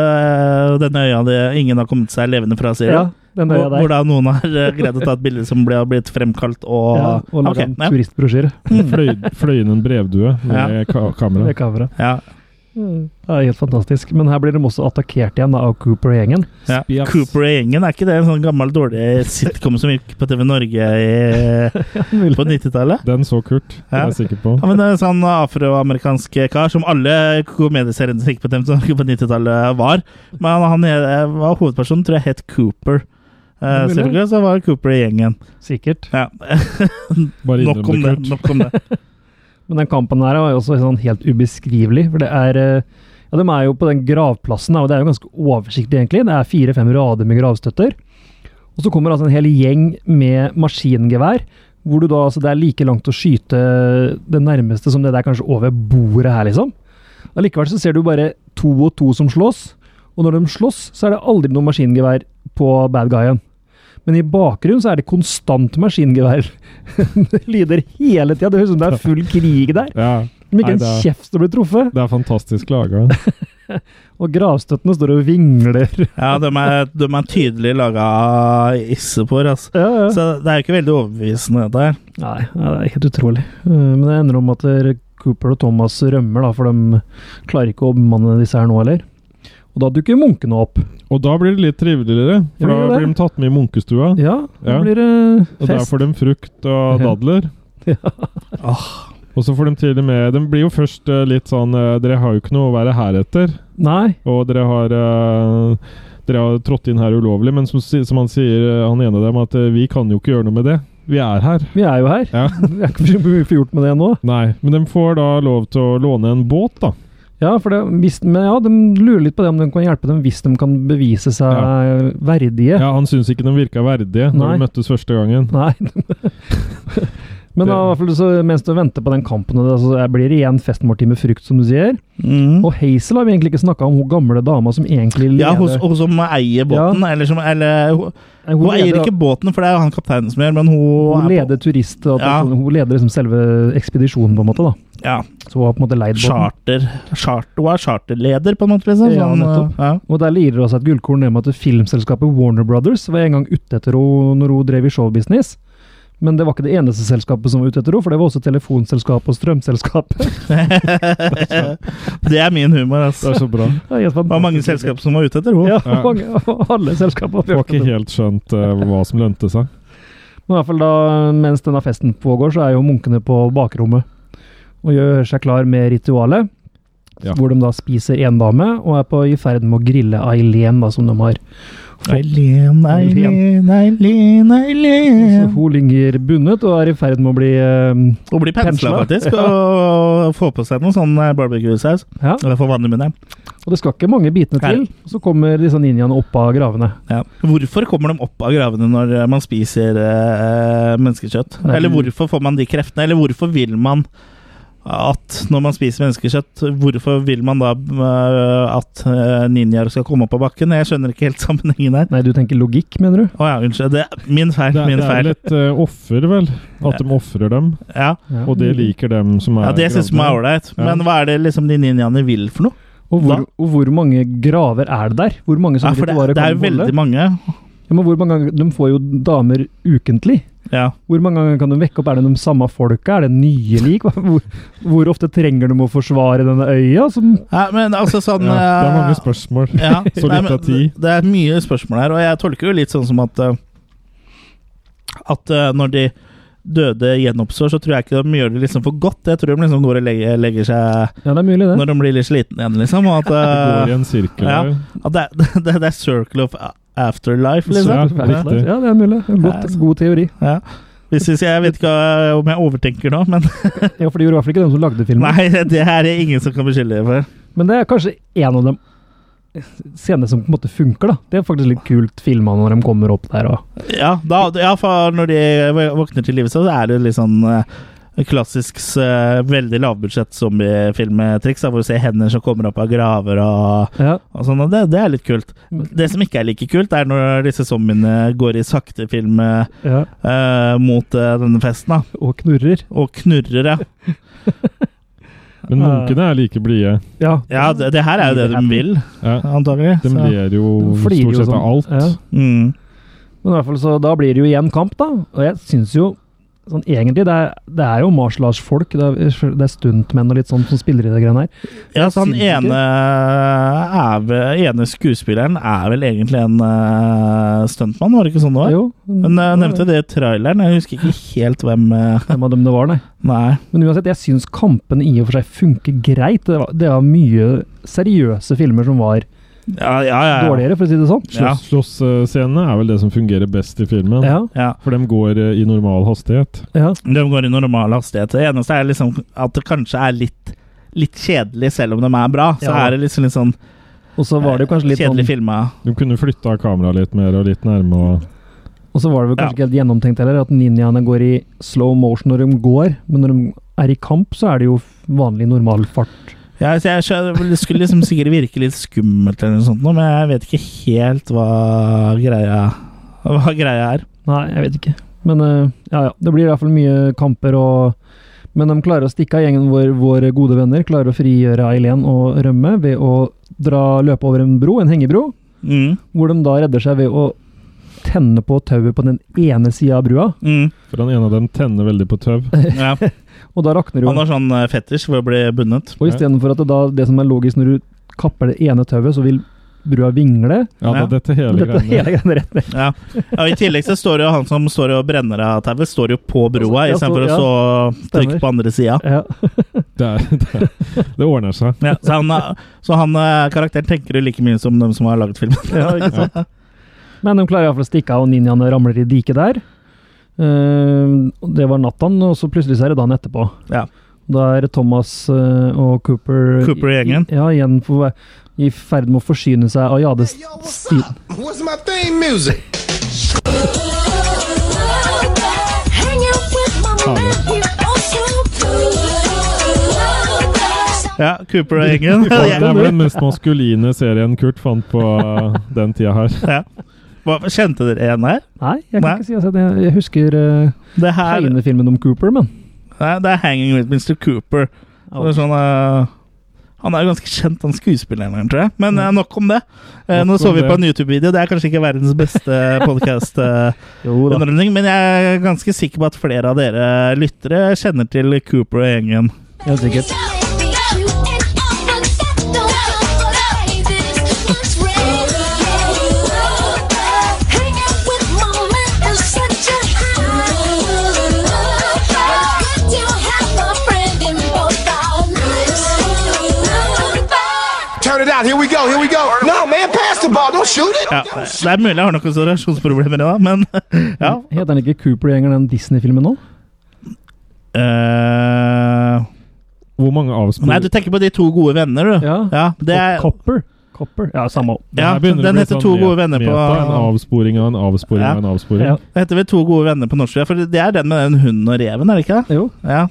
den øya det, ingen har kommet seg levende fra, sier du? den øya Hvor- der. Hvordan noen har eh, greid å ta et bilde som ble, har blitt fremkalt og, Ja, og lager Ok, en ja. turistbrosjyre Mm. Fløy, fløy inn en (laughs) brevdue med ka kamera. med kamera. Ja. Det er helt fantastisk. Men her blir de også attakkert igjen da, av Cooper-gjengen. Ja. Spias. Cooper og gjengen, er ikke det en sånn gammel, dårlig sitcom som gikk på TV Norge (laughs) i, på 90-tallet? Den så Kurt, det er Ja. jeg sikker på. Ja, men det er en sånn afroamerikansk kar som alle komedieseriene som gikk på TV Norge på 90-tallet, var. Men han eh, var hovedpersonen, tror jeg het Cooper. Eh, Ja, mulig. selvfølgelig så var det Cooper i gjengen. Sikkert. Ja. Bare Nok om innrøm det. det, Kurt. Nok om det. Men den kampen her var jo også sånn helt ubeskrivelig, for det er eh, Ja, de er jo på den gravplassen, da, og det er jo ganske oversiktlig, egentlig. Det er fire-fem rader med gravstøtter. Og så kommer altså en hel gjeng med maskingevær, hvor du da altså Det er like langt å skyte det nærmeste som det der kanskje over bordet her, liksom. Allikevel så ser du bare to og to som slåss, og når de slåss, så er det aldri noe maskingevær på bad guyen. Men i bakgrunnen så er det konstant maskingevær. (laughs) det lyder hele tida. Det høres ut som det er full krig der. Ja, Om ikke Nei, en det er- kjeft som blir truffet. det er fantastisk laga. Og gravstøttene står og vingler. (laughs) Ja, de er, de er tydelig laga av issepor, altså. Ja, ja. Så det er jo ikke veldig overbevisende, dette her. Nei, ja, det er helt utrolig. Eh, Men det ender om at eh, Cooper og Thomas rømmer, da, for de klarer ikke å bemanne disse her nå heller. Og da dukker munkene opp. Og da blir det litt triveligere, for Blir det da det? blir de tatt med i munkestua. Ja, da Ja. blir det Og der fest. får de frukt og dadler. (laughs) Ja. Og så får de til og med De blir jo først eh, litt sånn eh, Dere har jo ikke noe å være her etter, Nei, og dere har eh, dere har trådt inn her ulovlig, men som, si- som han sier, eh, han ene av dem, at eh, vi kan jo ikke gjøre noe med det. Vi er her. vi er jo her. Ja. (laughs) Vi er ikke så mye for gjort med det nå. Nei, men de får da lov til å låne en båt, da. Ja, for det, hvis, men ja, de lurer litt på det om de kan hjelpe dem hvis de kan bevise seg verdige. Ja, Han syns ikke de virka verdige når Nei. de møttes første gangen. (laughs) (laughs) Nei. Men da, i hvert fall så, mens du venter på den kampen, og det, altså, det blir igjen festmåltid med frukt, som du sier. Mm. Og Hazel har vi egentlig ikke snakka om, hun gamle dama som egentlig leder Ja, hun, hun som eier båten, eller som eller, hun, Nei, hun eier leder- ikke båten, for det er jo han kapteinen som gjør, men hun, Hun er leder turist, og Ja. hun leder liksom selve ekspedisjonen, på en måte. da. på, ja, Så hun har på en måte leid båten. charter, charter. Hun er charterleder, på en måte, liksom. Ja, Sånn, nettopp. ja. (laughs) Og der lirer det også et gullkorn ned med at filmselskapet Warner Brothers var en gang ute etter henne når hun drev i showbusiness. Men det var ikke det eneste selskapet som var ute etter henne, for det var også telefonselskapet og (laughs) strømselskapet. det er min humor, altså. Det er så (laughs) bra. Det er helt Det var mange fantastisk. selskap som var ute etter henne. Ja, Ja. mange, alle selskaper. Jeg har ikke helt skjønt eh, hva som lønte seg. Men i hvert fall da, mens denne festen pågår, så er jo munkene på bakrommet og gjør seg klar med ritualet. Ja. Hvor de da spiser en dame og er på i ferd med å grille Aileen, da, som de har. Eileen, Eileen, Eileen, Så Eileen. hun ligger bundet og er i ferd med å bli eh, Hun blir pensla, Pensla. faktisk, og får på seg noe sånn eh, barbecue-saus. Ja. Eller for vanlig munn, ja. Og det skal ikke mange bitene til, Nei. så kommer disse ninjaene opp av gravene. Ja. Hvorfor kommer de opp av gravene når eh, man spiser eh, menneskekjøtt? Nei. Eller hvorfor får man de kreftene? Eller hvorfor vil man at når man spiser menneskekjøtt, hvorfor vil man da eh, at eh, ninjaer skal komme opp av bakken? Jeg skjønner ikke helt (laughs) sammenhengen her. Nei, du tenker logikk, mener du? Å ja, unnskyld. Det er min feil. Det er, min det er feil. litt eh, offer, vel. At de ofrer dem. Ja. Mm. Ja. Og det liker dem som er ja, det syns man er ålreit. Ja. Men hva er det liksom de ninjaene vil for noe? Og hvor, Da- og hvor mange graver er det der? Hvor mange Ja, som for det, ritualet det er kan jo holde? veldig mange. Ja, men hvor mange ganger, de får jo damer ukentlig. Ja. Hvor mange ganger kan de vekke opp? Er det de samme folka? Er det nye lik? Hva- Hvor, hvor ofte trenger de å forsvare denne øya? Som, ja, men altså sånn Ja, det er eh, mange spørsmål. (laughs) Ja, Så nei, litt men av tid. Det det er mye spørsmål her, og jeg tolker jo litt sånn som at eh, At eh, når de døde gjenoppstår, så tror jeg ikke de gjør det liksom for godt. Jeg tror de liksom går og legger, legger seg Ja, det er mulig, det. når de blir litt slitne igjen, liksom. (laughs) Og at, Det går eh, i en sirkel ja. der. at det, er- (laughs) det, er- det er circle of afterlife, Ja, liksom. Ja, det er riktig. sånn. ja, altså. det er mulig. Det er Ja, Godt, god teori. Ja. Hvis, hvis jeg vet ikke eh, om jeg overtenker nå, men Ja, for det gjorde i hvert fall ikke de som lagde Mm. filmen. (laughs) nei, det her er ingen som kan beskylde deg for. Men det er kanskje en av de scenene som på en måte funker, da. Det er faktisk litt kult filma når de kommer opp der og Ja, da, ja, for når de vå- våkner til live, så er det litt sånn eh, klassisk eh, veldig lavbudsjett zombiefilmtriks, da, hvor du ser hender som kommer opp av graver og, ja. og sånn, og det, det er litt kult. Mm. Det som ikke er like kult, er når disse zombiene går i sakte film eh, Ja, eh, mot eh, denne festen, da, og knurrer. og knurrer, ja. Men munkene er like blide. Ja. Ja, det, det her er jo det de vil, Ja. antagelig. De Så, ler jo De stort flirer jo sett av sånn. alt. Ja. mm. Men i hvert fall så da blir det jo igjen kamp, da. Og jeg syns jo sånn egentlig Det er, det er jo martial arts-folk, det, er- det er stuntmenn og litt sånn som spiller i det greiene her. Ja, så han Sinnssyke. ene, er vel, ene skuespilleren er vel egentlig en eh, stuntmann, var det ikke sånn det var? Jo, Hun eh, nevnte det i traileren, jeg husker ikke helt hvem eh, Hvem av dem det var, nei. Nei. Men uansett, jeg syns kampene i og for seg funker greit. Det var, det var mye seriøse filmer som var Ja, ja, ja. ja. dårligere, for å si det sånn. Ja. Slåss- Slåssscenene er vel det som fungerer best i filmen. Ja, ja. For dem går eh, i normal hastighet. ja. De går i normal hastighet. Det eneste er liksom at det kanskje er litt, litt kjedelig, selv om de er bra. Så Ja. er det liksom litt sånn eh, Og så var det jo kanskje litt sånn kjedelig filma. De kunne flytta kameraet litt mer og litt nærme. Og Og så var det vel kanskje ikke helt gjennomtenkt heller, at ninjaene går i slow motion når de går, men når de er i kamp, så er det jo vanlig normal fart. Ja, så jeg skjø- Det skulle liksom sikkert virke litt skummelt, eller noe sånt, nå, men jeg vet ikke helt hva greia, hva greia er. Nei, jeg vet ikke. Men eh, ja, ja. Det blir i hvert fall mye kamper og Men de klarer å stikke av gjengen vår, våre gode venner. Klarer å frigjøre Eileen og rømme ved å dra, løpe over en bro, en hengebro, Mm. hvor de da redder seg ved å tenne på tauet på den ene sida av brua, Mm. for han ene av dem tenner veldig på tøv. (laughs) Ja. og da rakner jo Han har sånn eh, fetisj for å bli bundet. Og istedenfor at det da, det som er logisk når du kapper det ene tauet, så vil brua vingle. Ja, da Ja. dette hele Dette (laughs) greiene. hele greia rett ned. Ja. ja, I tillegg så står jo han som står og brenner av tauet, står jo på broa Ja, så- istedenfor å ja. så trykke Stemmer. på andre sida. Ja. Det, (laughs) er- det, er- det ordner seg. Ja, så han, eh, så han eh, karakteren tenker jo like mye som dem som har laget filmen. Men de klarer iallfall å stikke av, og ninjaene ramler i diket der. Eh, og det var nattaen, og så plutselig så er det dagen etterpå. Ja. Da er Thomas eh, og Cooper Cooper og gjengen. Ja, igjen på, vei- i ferd med å forsyne seg av Jades sin. What's my theme music? Hang out with mama, now you also do. (laughs) Ja, Cooper og gjengen. (laughs) Det er Ja. vel den mest maskuline serien Kurt fant på eh, den tida her. Ja. Hva- Kjente dere igjen her? Nei, jeg kan Nei. ikke si at jeg, jeg husker eh, Det her tegnefilmen om Cooper, men Nei, det er 'Hanging with Mr. Cooper'. Det er sånn, eh, han er jo ganske kjent, han skuespilleren, her, tror jeg. Men eh, nok om det. Eh, nå Nok så om vi det. på en YouTube-video. Det er kanskje ikke verdens beste eh, podkast. Jo da. underholdning, men jeg er ganske sikker på at flere av dere lyttere kjenner til Cooper og gjengen. Helt sikkert. Turn it out. Here we go. Here we go. No, man, pass the ball. Don't shoot it. Ja, det er mulig jeg har noen relasjonsproblemer i dag, men (laughs) ja. Heter den ikke Cooper-gjengen, den Disney-filmen nå? Eh, Hvor mange avspor... nei, du tenker på De to gode venner, du. Ja. det er, Og Copper? Copper? Ja, samme. Det ja her begynner å den bli heter sånn To me- gode venner på meta, En avsporing av en avsporing Ja. av en avsporing. Ja. Ja. Det heter vel To gode venner på norsk, ja, for det er den med den hunden og reven, er det ikke det? Jo, Ja.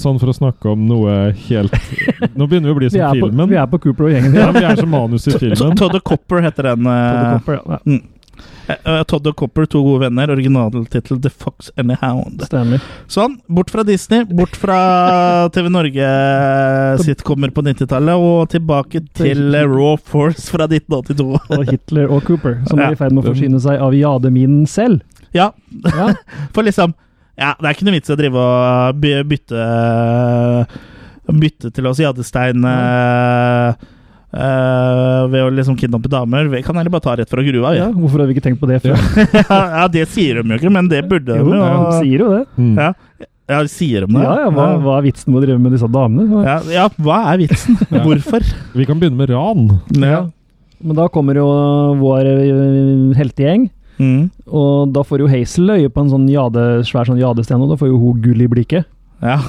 Sånn for å snakke om noe helt Nå begynner vi å bli vi som er, på, filmen. vi er på Cooper og gjengen. (laughs) Ja, vi er som manus (laughs) i Så filmen. Todd og Copper heter den. Todd eh, Copper, ja. eh, Todd og Copper, To gode venner. Originaltittel The Fox and the Hound. Stemmer. Sånn. Bort fra Disney, bort (laughs) fra TV Norge-sitcomer på 90-tallet, og tilbake til eh, Raw Force fra 1982. Og Hitler og Cooper, som Ja. er i ferd med å forsyne seg av jademinen selv. (laughs) Ja, Ja. (laughs) for liksom Ja, det er ikke noe vits i å drive og by- bytte Bytte til oss jadestein eh, eh, ved å liksom kidnappe damer. Vi kan heller bare ta rett fra gruva. Ja, Ja. hvorfor har vi ikke tenkt på det før? (laughs) ja, det sier de jo ikke, men det burde de Jo, jo. de sier jo det. Mm. Ja, ja sier de det? Ja, ja, hva, hva er vitsen med å drive med disse damene? Ja, ja, hva er vitsen? Ja. Hvorfor? Vi kan begynne med ran. Ja. Men da kommer jo vår øh, heltegjeng, Mm. og da får jo Hazel øye på en sånn jade, svær sånn jadesten, og da får jo hun gull i blikket. ja.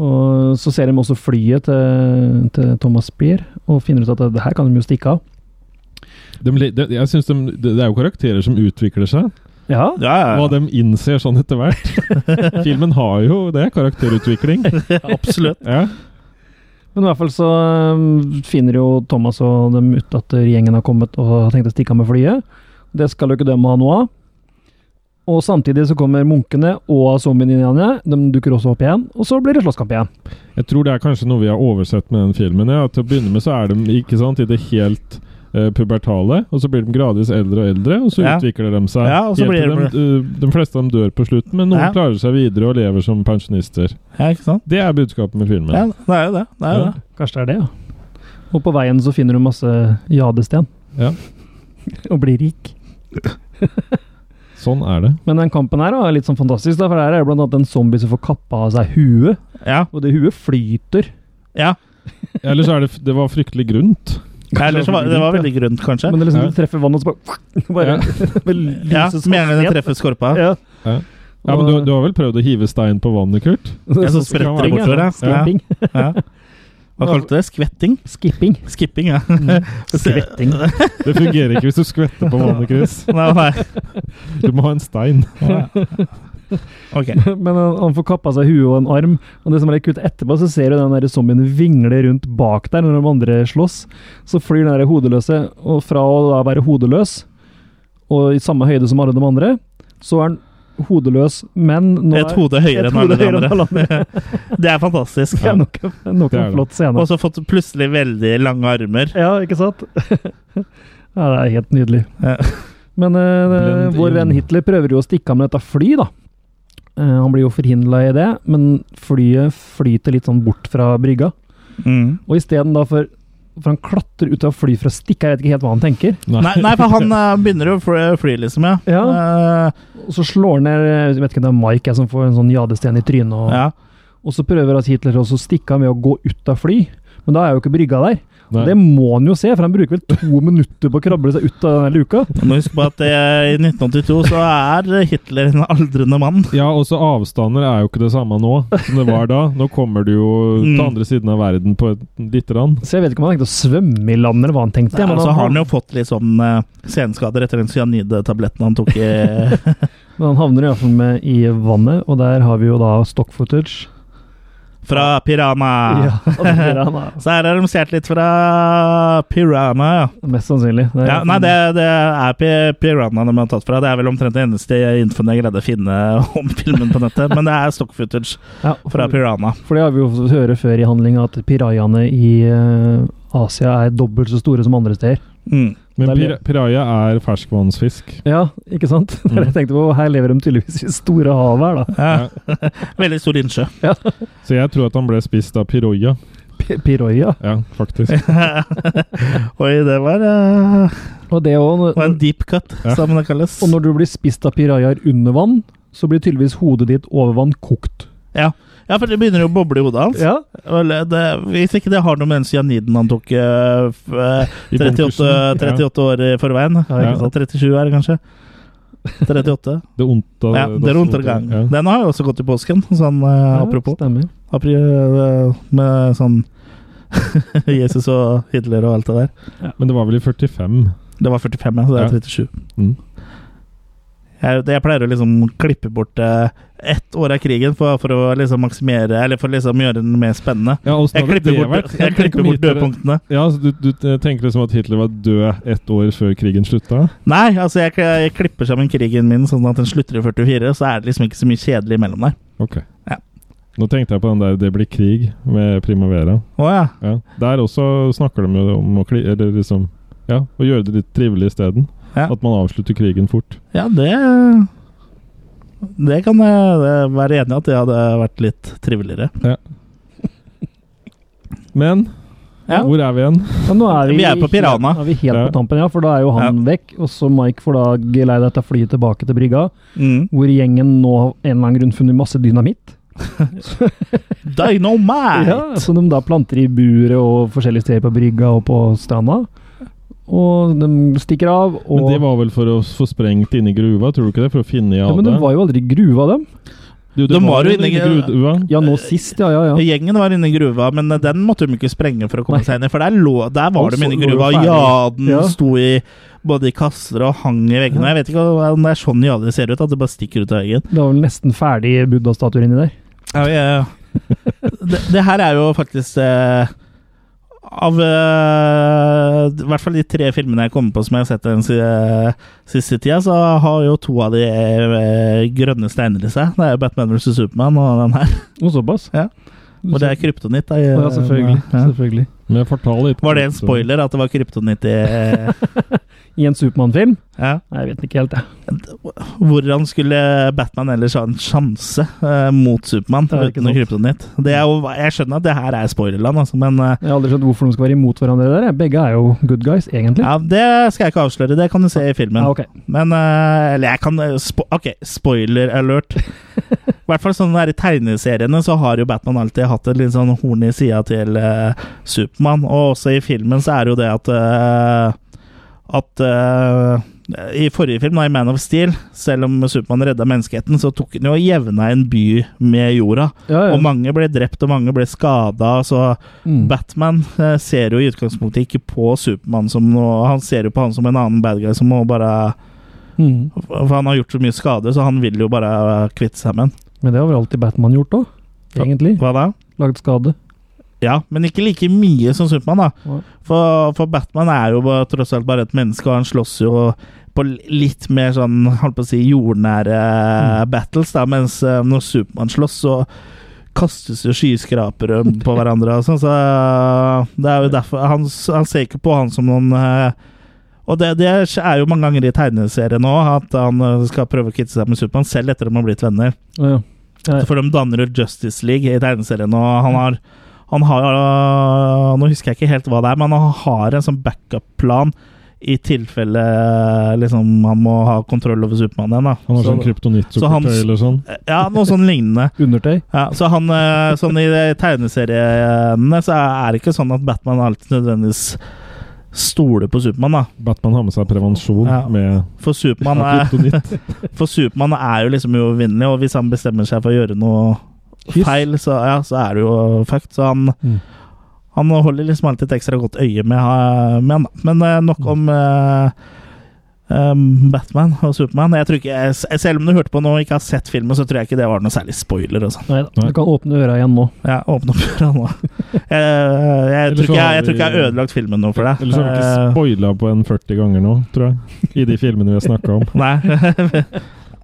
Og så ser de også flyet til, til Thomas Speer, og finner ut at det her kan de jo stikke av. De, le- de, jeg synes de, det det er jo karakterer som utvikler seg. Ja, ja, ja, Hva de innser sånn etter hvert. (laughs) Filmen har jo det, karakterutvikling. ja. Absolutt. Ja. men i hvert fall så øh, finner jo Thomas og dem ut at gjengen har kommet og har tenkt å stikke av med flyet. Det skal jo ikke dem ha noe av. Og samtidig så kommer munkene og zombiene. De dukker også opp igjen, og så blir det slåsskamp igjen. Jeg tror det er kanskje noe vi har oversett med den filmen. Ja. Til å begynne med så er de ikke sant, i det helt eh, pubertale, og så blir de gradvis eldre og eldre, og så Ja. utvikler de seg. Ja, og så helt til blir de, eh, de fleste av dem dør på slutten, men noen Ja. klarer seg videre og lever som pensjonister. Ja, ikke sant? Det er budskapet med filmen. Ja, det er jo det. det, er jo Ja. det. Kanskje det er det, ja. Og på veien så finner du masse jadesten. Ja. (laughs) og blir rik. Sånn er det. Men den kampen her da, er litt sånn fantastisk, da, for der er det blant annet en zombie som får kappa av seg huet. Ja. Og det huet flyter. ja. Eller så er det f- Det var fryktelig grunt. Eller så var det var veldig grunt, kanskje. Men det liksom Ja. du treffer vannet, og så bare, (laughs) bare med lyset Ja, som Som gjerne ned. den treffer skorpa. Ja. Ja, men du, du har vel prøvd å hive stein på vannet, Kurt? Ja, så spretter det bortover, ja. Skipping. Ja. Hva kalte du det? Skvetting? Skipping. Skipping, ja. (laughs) Skvetting. Det fungerer ikke hvis du skvetter på vannet, (laughs) Chris. Nei, nei. Du må ha en stein. Ok. (laughs) Men han, han får kappa seg huet og en arm, og det som er litt kult etterpå, så ser du den der zombien vingle rundt bak der når de andre slåss. Så flyr den der hodeløse, og fra å da være hodeløs, og i samme høyde som alle de andre, så er han hodeløs, men nå Et hode høyere enn alle de andre. (laughs) Det er fantastisk. Det er nok, nok Det er en det. flott scene. Og så fått plutselig veldig lange armer. Ja, ikke sant? (laughs) ja, det er helt nydelig. Ja. Men eh, Blend vår venn inn. Hitler prøver jo å stikke av med dette fly, da. Eh, han blir jo forhindla i det, men flyet flyter litt sånn bort fra brygga. (laughs) Mm. Og isteden da for for han klatrer ut av fly for å stikke, jeg vet ikke helt hva han tenker. Nei, nei, for han eh, begynner jo å fly, fly liksom, ja. Eh, Og så slår han ned eh, Jeg vet ikke om det er Mike jeg, som får en sånn jadesten i trynet. Og, ja. og så prøver altså Hitler også å stikke av med å gå ut av fly, men da er jo ikke brygga der. Og Nei. det må han jo se, for han bruker vel to minutter på å krable seg ut av den luka. Må huske på at eh, i 1982 så er Hitler en aldrende mann. Ja, også avstander er jo ikke det samme nå som det var da. Nå kommer du jo Mm. til andre siden av verden på et lite grann. Så jeg vet ikke om han tenkte å svømme i land, eller hva han tenkte. Nei, og men så han, har han jo fått litt sånn eh, senskader etter den cyanidtabletten han tok i (laughs) men han havner iallfall med i vannet, og der har vi jo da stock footage. fra Piranha. og det gjør han da. Så her har de stjålet litt fra Piranha, ja. (laughs) Mest sannsynlig. Det er- sånn- ja nei, det, det er Pi Piranha de har tatt fra. Det er vel omtrent det eneste infoen jeg greide å finne (laughs) om filmen på nettet. Men det er stock footage Ja, fra Piranha. For det har vi jo fått høre før i handlinga, at pirajaene i eh, Asia er dobbelt så store som andre steder. Mm. Men Der pir le- piraja er ferskvannsfisk. Ja, ikke sant? (laughs) Det er det jeg tenkte på. Her lever de tydeligvis i store havet her, (laughs) da. Ja. Veldig stor innsjø. (laughs) Så jeg tror at han ble spist av piroja. P- Piroja. Ja, faktisk. Eh, Oi, det var, eh, Og det også, var en deep cut, Ja. som det kalles. Og når du blir spist av pirajaer under vann, så blir tydeligvis hodet ditt over vann kokt. Ja, for det begynner jo å boble i hodet hans. Ja, Vel, det, hvis ikke det har noe med den cyaniden han tok eh, f- eh, I 38, bunkersen. 38 år i forveien. ikke Ja, 37 er det kanskje. 38. (laughs) Ja, det onta, Ja, det er undergang. Ja. Den har jo også gått i påsken, sånn eh, apropos. Stemmer. Apri- eh, Med sånn (laughs) Jesus og Hitler og alt det der. Men det var vel i 45. Det var 45, ja, så det er 37. Mm. Jeg, jeg pleier å liksom klippe bort eh, ett år av krigen for, for å liksom maksimere Eller for liksom gjøre den mer spennende. Ja, åssen Jeg hadde klipper det bort, vært? jeg klipper bort dødpunktene. Ja, så du, du eh, tenker liksom at Hitler var død ett år før krigen slutta? Nei, altså jeg, jeg klipper sammen krigen min sånn at den slutter i 44, så er det liksom ikke så mye kjedelig imellom der. Ok. Ja. Nå tenkte jeg på den der 'Det blir krig' med Primavera. Å ja. Ja. Der også snakker de jo om å, kli, eller liksom, ja, å gjøre det litt trivelig isteden. Ja. At man avslutter krigen fort. Ja, det Det kan jeg eh, være enig i at det hadde vært litt triveligere. Men Ja. Hvor er vi igjen? Ja, nå er vi, Vi er på Piranha. Helt, nå er vi helt Ja. på tampen, ja, for da er jo han vekk. Og så Mike får da geleid etter flyet tilbake til brygga, Mm. hvor gjengen nå av en eller annen grunn funnet masse dynamitt. Dynamite! Ja, som de da planter i buret og forskjellige steder på brygga og på stranda. Og de stikker av. Og, Men det var vel for å få sprengt inne i gruva, tror du ikke det? For å finne i ja, men de var jo aldri i gruva, dem. Du, De var jo inne i gru- gruva. Ja, nå sist, ja, ja. ja. Gjengen var inne i gruva, men den måtte de ikke sprenge for å komme Nei. seg inn i. For der, lå, der var Og de så inne i lå de gruva. ferdig. Jaden Ja. sto i både i kasser og hang i veggene. Jeg vet ikke om det er sånn jader ser ut, at det bare stikker ut av veggen. Det var vel nesten ferdig buddha-statuer inni der. Ja, ja, ja. det, det her er jo faktisk eh, Av eh, i hvert fall de tre filmene jeg kommer på som jeg har sett den si, eh, siste tida, så har jo to av de eh, grønne steiner i seg. Det er jo Batman vs. Supermann og den her. Og såpass. Ja. Og det er kryptonitt. da, i- Å, ja, selvfølgelig. Ja. selvfølgelig. Men fortal litt. Var det en spoiler at det var kryptonitt i eh, I en Supermann-film? ja. Nei, Jeg vet ikke helt, jeg. Hvordan skulle Batman ellers ha en sjanse eh, mot Supermann Det er ikke uten noe sant. kryptonitt? Det er jo, jeg skjønner at det her er spoilerland, altså, men eh, Jeg har aldri skjønt hvorfor de skal være imot hverandre der. jeg. Begge er jo good guys, egentlig. Ja, Det skal jeg ikke avsløre, det kan du se i filmen. Ja, Ah, ok. Men eh, Eller jeg kan eh, spo Ok, spoiler alert. I hvert fall sånn der i tegneseriene så har jo Batman alltid hatt en litt sånn horn i sida til eh, Supermann. Og også i filmen så er det jo det at eh, At eh, I forrige film, da, i Man of Steel, selv om Supermann redda menneskeheten, så tok han jo og jevna en by med jorda. Ja, ja. Og mange ble drept, og mange ble skada. Så Mm. Batman eh, ser jo i utgangspunktet ikke på Supermann som noe Han ser jo på han som en annen bad guy som må bare Mm. For han har gjort så mye skade, så han vil jo bare eh, kvitte seg med Men det har vel alltid Batman gjort òg, den. egentlig. Hva da? Lagd skade. Ja, men ikke like mye som Supermann, da. Nei. For, for Batman er jo bare, tross alt bare et menneske, og han slåss jo på litt mer sånn, holdt på å si, jordnære battles, da, mens eh, når Supermann slåss, så kastes jo skyskrapere på hverandre og sånn, så eh, det er jo derfor Han, han ser ikke på han som noen eh, og det, det er jo mange ganger i tegneserien òg, at han eh, skal prøve å kvitte seg med Supermann, selv etter at de har blitt venner. Ja, ja. Nei. For de danner jo Justice League i tegneserien, og han har, han har øh, Nå husker jeg ikke helt hva det er, men han har en sånn backup-plan i tilfelle øh, liksom, han må ha kontroll over Supermann igjen. da. Han har sånn Så- så han- kryptonitt-sukkertøy eller sånn. Ja, noe sånn lignende. Undertøy. Ja, så han, øh, sånn I de tegneseriene så er det ikke sånn at Batman alltid nødvendigvis stoler på Supermann. da. Batman har med seg prevensjon Ja. med For Supermann med er, kryptonitt. for Superman er jo liksom uovervinnelig, og hvis han bestemmer seg for å gjøre noe Kyss. feil, så, ja, så er det jo fucked. Så han, Mm. han holder liksom alltid et ekstra godt øye med, ha- med han. da. Men eh, nok om eh, em, Batman og Supermann. Jeg tror ikke, jeg, selv om du hørte på nå og ikke har sett filmen, så tror jeg ikke det var noe særlig spoiler. Og sånn. Nei da. Nei. Du kan åpne øra igjen nå. ja, åpne opp (laughs) døra nå. Jeg, jeg, tror så ikke jeg, har jeg tror ikke jeg vi- har ødelagt filmen nå (laughs) for deg. Eller så har vi ikke Eh, spoila på en 40 ganger nå, tror jeg. I de filmene vi har snakka om. (laughs) Nei.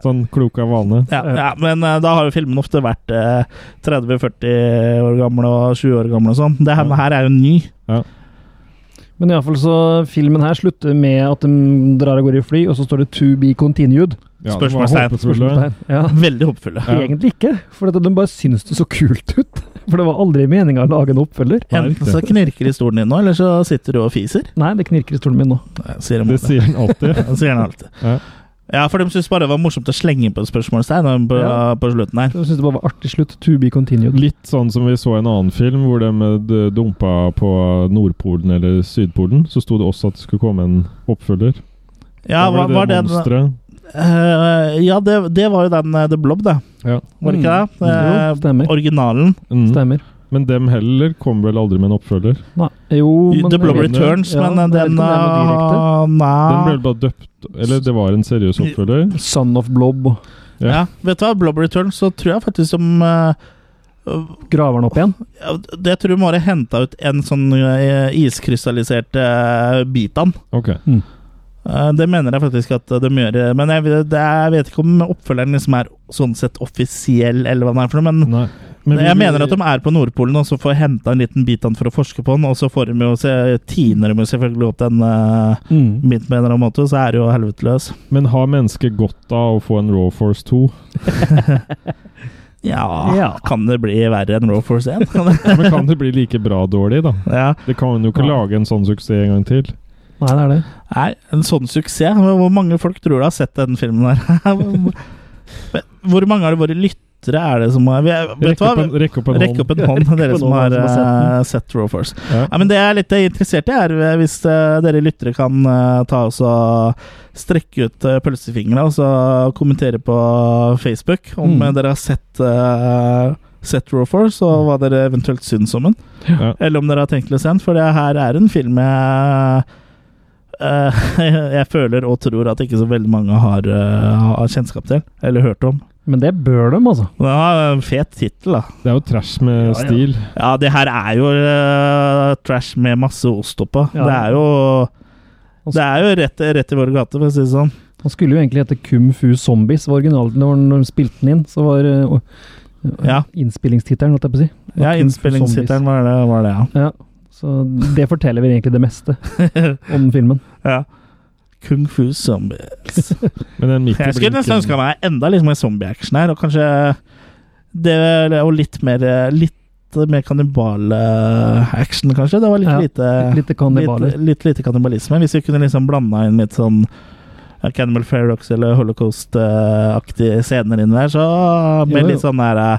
Sånn klok av vane. Ja, ja, men eh, da har jo filmen ofte vært eh, 30-40 år gamle og 20 år gamle og sånn. Det her, Ja. her er jo ny. Men iallfall så filmen her slutter med at de drar av gårde i fly, og så står det 'to be continued'. Ja, det var Spørsmålstegn. håpefulle. Spørsmålstegn. Ja. Veldig håpefulle. Egentlig ikke, for at de bare syns det så kult ut. For det var aldri meninga å lage en oppfølger. Ja, Enten riktig. så knirker historien din nå, eller så sitter du og fiser. Nei, det knirker i stolen min nå. Nei, Sier de Det alltid. sier han (laughs) alltid. Ja, sier de alltid. Ja. Ja, for de syns bare det var morsomt å slenge på et spørsmålstegn på, Ja. på slutten her. Jeg syns det bare var artig slutt. 'To be continued'. Litt sånn som vi så i en annen film, hvor de eh, d- dumpa på Nordpolen eller Sydpolen. Så sto det også at det skulle komme en oppfølger. Ja, Da var, var det, monsteret. Eh, ja det, det var jo den eh, The Blob, det. Ja. Var det ikke det? Mm. Jo, Eh, stemmer. originalen. Mm. Stemmer. Men dem heller kom vel aldri med en oppfølger. Nei. Jo, Oh, men The Blob vet du. Returns, Ja, men eh, jeg vet den ikke om det er noe direkte. eh, Den ble Nei. vel bare døpt Eller det var en seriøs oppfølger. Son of Blob. og Ja. Ja, vet du hva, Blob Returns, så tror jeg faktisk som eh, Graver den opp igjen. Ja, Det tror jeg må ha henta ut en sånn eh, iskrystallisert eh, bit av den. Ok. Eh, Det mener jeg faktisk at de gjør, eh, men jeg, vet- det, jeg vet ikke om oppfølgeren liksom er sånn sett offisiell, eller hva den er for noe. Men, Nei. Men jeg vi- mener at de er på Nordpolen, og så får henta en liten bit av den for å forske på den, og så får de jo se, tiner de jo selvfølgelig opp den eh, biten på en eller annen måte, og så er det jo helvete løs. Men har mennesket godt av å få en Raw Force 2? Ja, Ja. Kan det bli verre enn Raw Force (laughs) 1? Men kan det bli like bra dårlig, da? ja. Det kan jo ikke Ja. lage en sånn suksess en gang til. Nei, det er det. Nei, en sånn suksess. Men Hvor mange folk tror du har sett den filmen her? (laughs) Men Hvor mange av våre lyttere er det som har vi er, Vet du Rekk opp en, hva? rekk opp en Rekk opp en hånd. hånd, Rekk opp dere en som hånd, har som har eh, sett Raw Force. Ja. Ja, men Det jeg er litt interessert i, er eh, hvis eh, dere lyttere kan eh, ta oss og strekke ut uh, pølsefingra og så kommentere på Facebook om Mm. eh, dere har sett uh, Sett Raw Force, og hva dere eventuelt syns om den. Ja. Eller om dere har tenkt til å se den, for det her er en film jeg eh, (laughs) jeg føler og tror at ikke så veldig mange har, eh, har kjennskap til, eller hørt om. Men det bør de, altså. Den har en fet tittel, da. Det er jo trash med ja. stil. Ja, det her er jo eh, trash med masse ost oppå. Ja. Det er jo Det er jo rett, rett i vår gate, for å si det sånn. Han skulle jo egentlig hete Kung Fu Zombies, var originalen når når de spilte den inn. Så var uh, Ja. innspillingstittelen, holdt jeg på å si. Ja, Kung Fu Innspillingshitteren var det, var det, ja. Ja. Så det forteller vel egentlig det (laughs) meste om filmen. ja. Kung fu (laughs) zombies. Men den midt i Jeg skulle blinken- nesten ønska meg enda litt mer zombie-action her, og kanskje det Og litt mer Litt mer kannibal-action, kanskje. Det var litt Ja, lite Litt kannibaler. Eh, Litt, litt lite kannibalisme. Hvis vi kunne liksom blanda inn litt sånn eh, Cannibal Ferox eller Holocaust-aktige scener inn der, så med Jo, jo. litt sånn der eh,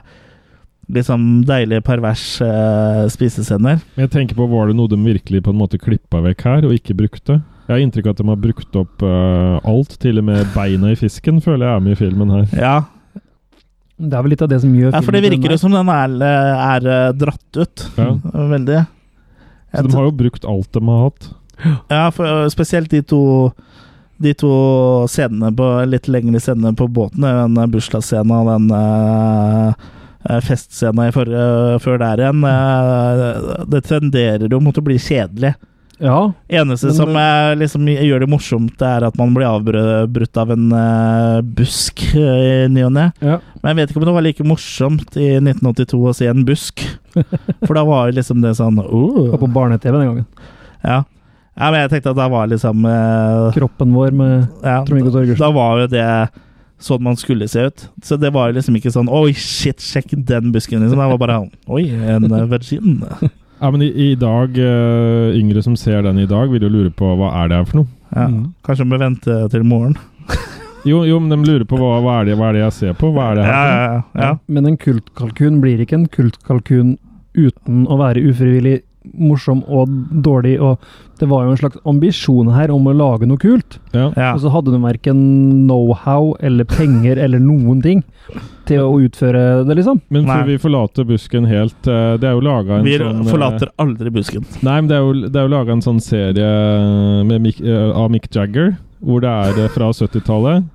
Liksom deilige, pervers eh, spisescener. Men jeg tenker på, Var det noe de virkelig på en måte klippa vekk her, og ikke brukte? Jeg har inntrykk av at de har brukt opp eh, alt, til og med beina i fisken, føler jeg er med i filmen her. Ja. Det er vel litt av det som gjør ja, for det virker jo som den er, er eh, dratt ut. Ja. Veldig. Så de har jo brukt alt de har hatt. Ja, for øh, spesielt de to De to scenene på Litt lengre scenene på båten er jo Den øh, bursdagsscenen og den øh, øh, festscenen i for, øh, før der igjen øh, Det tenderer jo mot å bli kjedelig Ja, Eneste Men- som øh, liksom gjør det morsomt Er at man blir avbrutt av en øh, busk øh, i ny og ne. ja. Men jeg vet ikke om det var like morsomt I 1982 å se en (laughs) busk For da var jo liksom det sånn Det «Åh». var på barne-TV den gangen. ja. ja, men jeg tenkte at da var liksom øh, Kroppen vår med ja, Trond-Viggo Torgersen. Da var jo det sånn man skulle se ut. Så det var jo liksom ikke sånn Oi, shit, sjekk den busken, liksom. Det var bare Oi, en eh, virgin. Ja, men i, i dag, eh, Yngre som ser den i dag, vil jo lure på hva er det her for noe? Ja. Kanskje vi venter til morgen. Jo, jo men de lurer på hva, hva, er det, hva er det jeg ser på? Hva er det Ja, her? for noe? ja, ja. Men en kultkalkun blir ikke en kultkalkun uten å være ufrivillig morsom og dårlig. Og det var jo en slags ambisjon her om å lage noe kult. Ja. ja. Og så hadde du verken know-how eller penger eller noen ting til å utføre det, liksom. Men før Nei. vi forlater busken helt eh, Det er jo laga en Vi sånn eh, forlater aldri busken. Nei, men det er jo, det er jo laga en sånn serie med Mick, eh, av Mick Jagger, hvor det er eh, fra 70-tallet.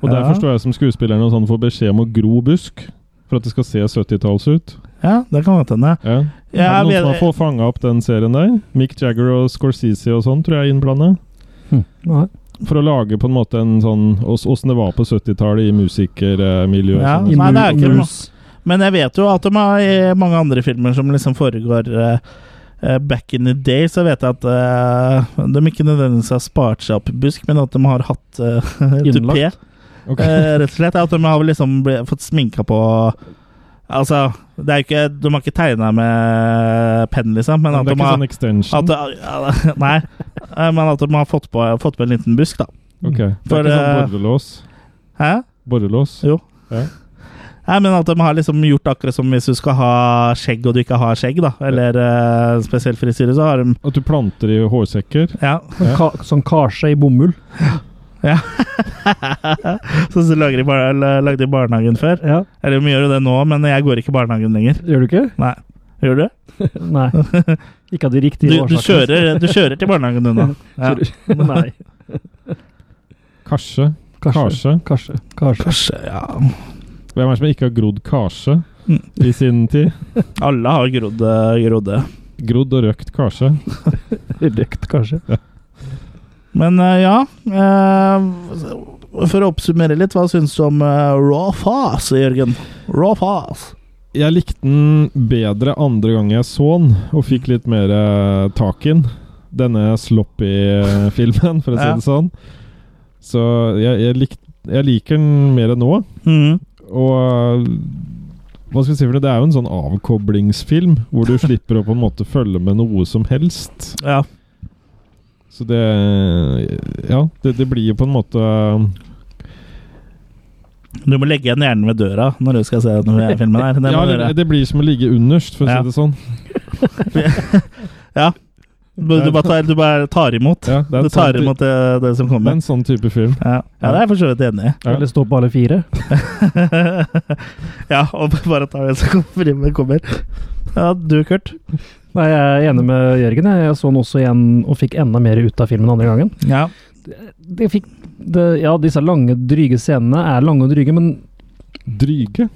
Og Ja. derfor står jeg som skuespiller og sånn får beskjed om å gro busk. For at det skal se 70-talls ut. Ja, det kan godt hende. Ja. Ja, er det noen jeg som har vet- fått fanga opp den serien der? Mick Jagger og Scorsese og sånn, tror jeg er innblanda. Nei. For å lage på en måte en sånn åssen det var på 70-tallet i musikermiljøet. Ja, sånn. Nei, det er mu- ikke det. mus. Men jeg vet jo at de har i mange andre filmer som liksom foregår eh, eh, Back in the day så vet jeg at eh, de ikke nødvendigvis har spart seg opp busk, men at de har hatt (laughs) uh, tupé. Innlagt. Ok. Eh, rett og slett. At de har liksom ble, fått sminka på Altså, det er jo ikke, de har ikke tegna med penn, liksom, men Men at de det er ikke har sånn extension. at, eh, ja, (laughs) Nei, Eh, men at de har fått på, fått på en liten busk, da. Ok. Det For, er ikke eh, sånn borrelås. Hæ? Borrelås. Jo. Ja. Nei, men at de har liksom gjort akkurat som hvis du skal ha skjegg og du ikke har skjegg, da. Eller eh, spesiell frisyre, så har de At du planter i hårsekker. Ja. (laughs) Sånn ka- Sånn karse i bomull. Sånn som de lager i bar- lagde i barnehagen før. Ja, Eller de gjør jo det nå, men jeg går ikke i barnehagen lenger. Gjør du ikke? Nei. Gjør du? Nei. (laughs) Ikke av de Du, riktige du, kjører, du kjører til barnehagen (laughs) du nå. Ja. Kjører- (laughs) Nei. Karse. Karse. Karse. Karse. Karse. Kanskje, ja Hvem er det som ikke har grodd karse Mm. i sin tid? Alle har grodd eh, grodd det. Grodd og røkt karse. Røkt, kanskje. Men eh, ja eh, For å oppsummere litt, hva syns du om eh, Raw Fast, Jørgen? Raw Fast. Jeg likte den bedre andre gang jeg så den, og fikk litt mer eh, tak i den. Denne sloppy-filmen, for å si Ja. det sånn. Så Mm. jeg, jeg, lik, jeg liker den mer enn nå. Mhm. Og eh, hva skal vi si for det? det er jo en sånn avkoblingsfilm, hvor (laughs) du slipper å på en måte følge med noe som helst. Ja. Så det Ja, det, det blir jo på en måte eh, Du må legge igjen hjernen ved døra når du skal se denne filmen. her. Det Ja, må du det, gjøre. det blir som å ligge underst, for å Ja. si det sånn. Du, du, bare tar, du bare tar imot. Ja, det Du er en tar sånn, imot det, det som ty- det er kommer. en sånn type film. Ja, ja det er jeg for så vidt enig i. (laughs) Ja. Eller stå på alle fire. ja, og bare ta det som kommer. kommer. Ja, du, Kurt. Nei, jeg er enig med Jørgen. jeg. Jeg så den også igjen og fikk enda mer ut av filmen andre gangen. Ja. Det fikk, det, ja, disse lange, dryge scenene er lange og dryge, men Dryge.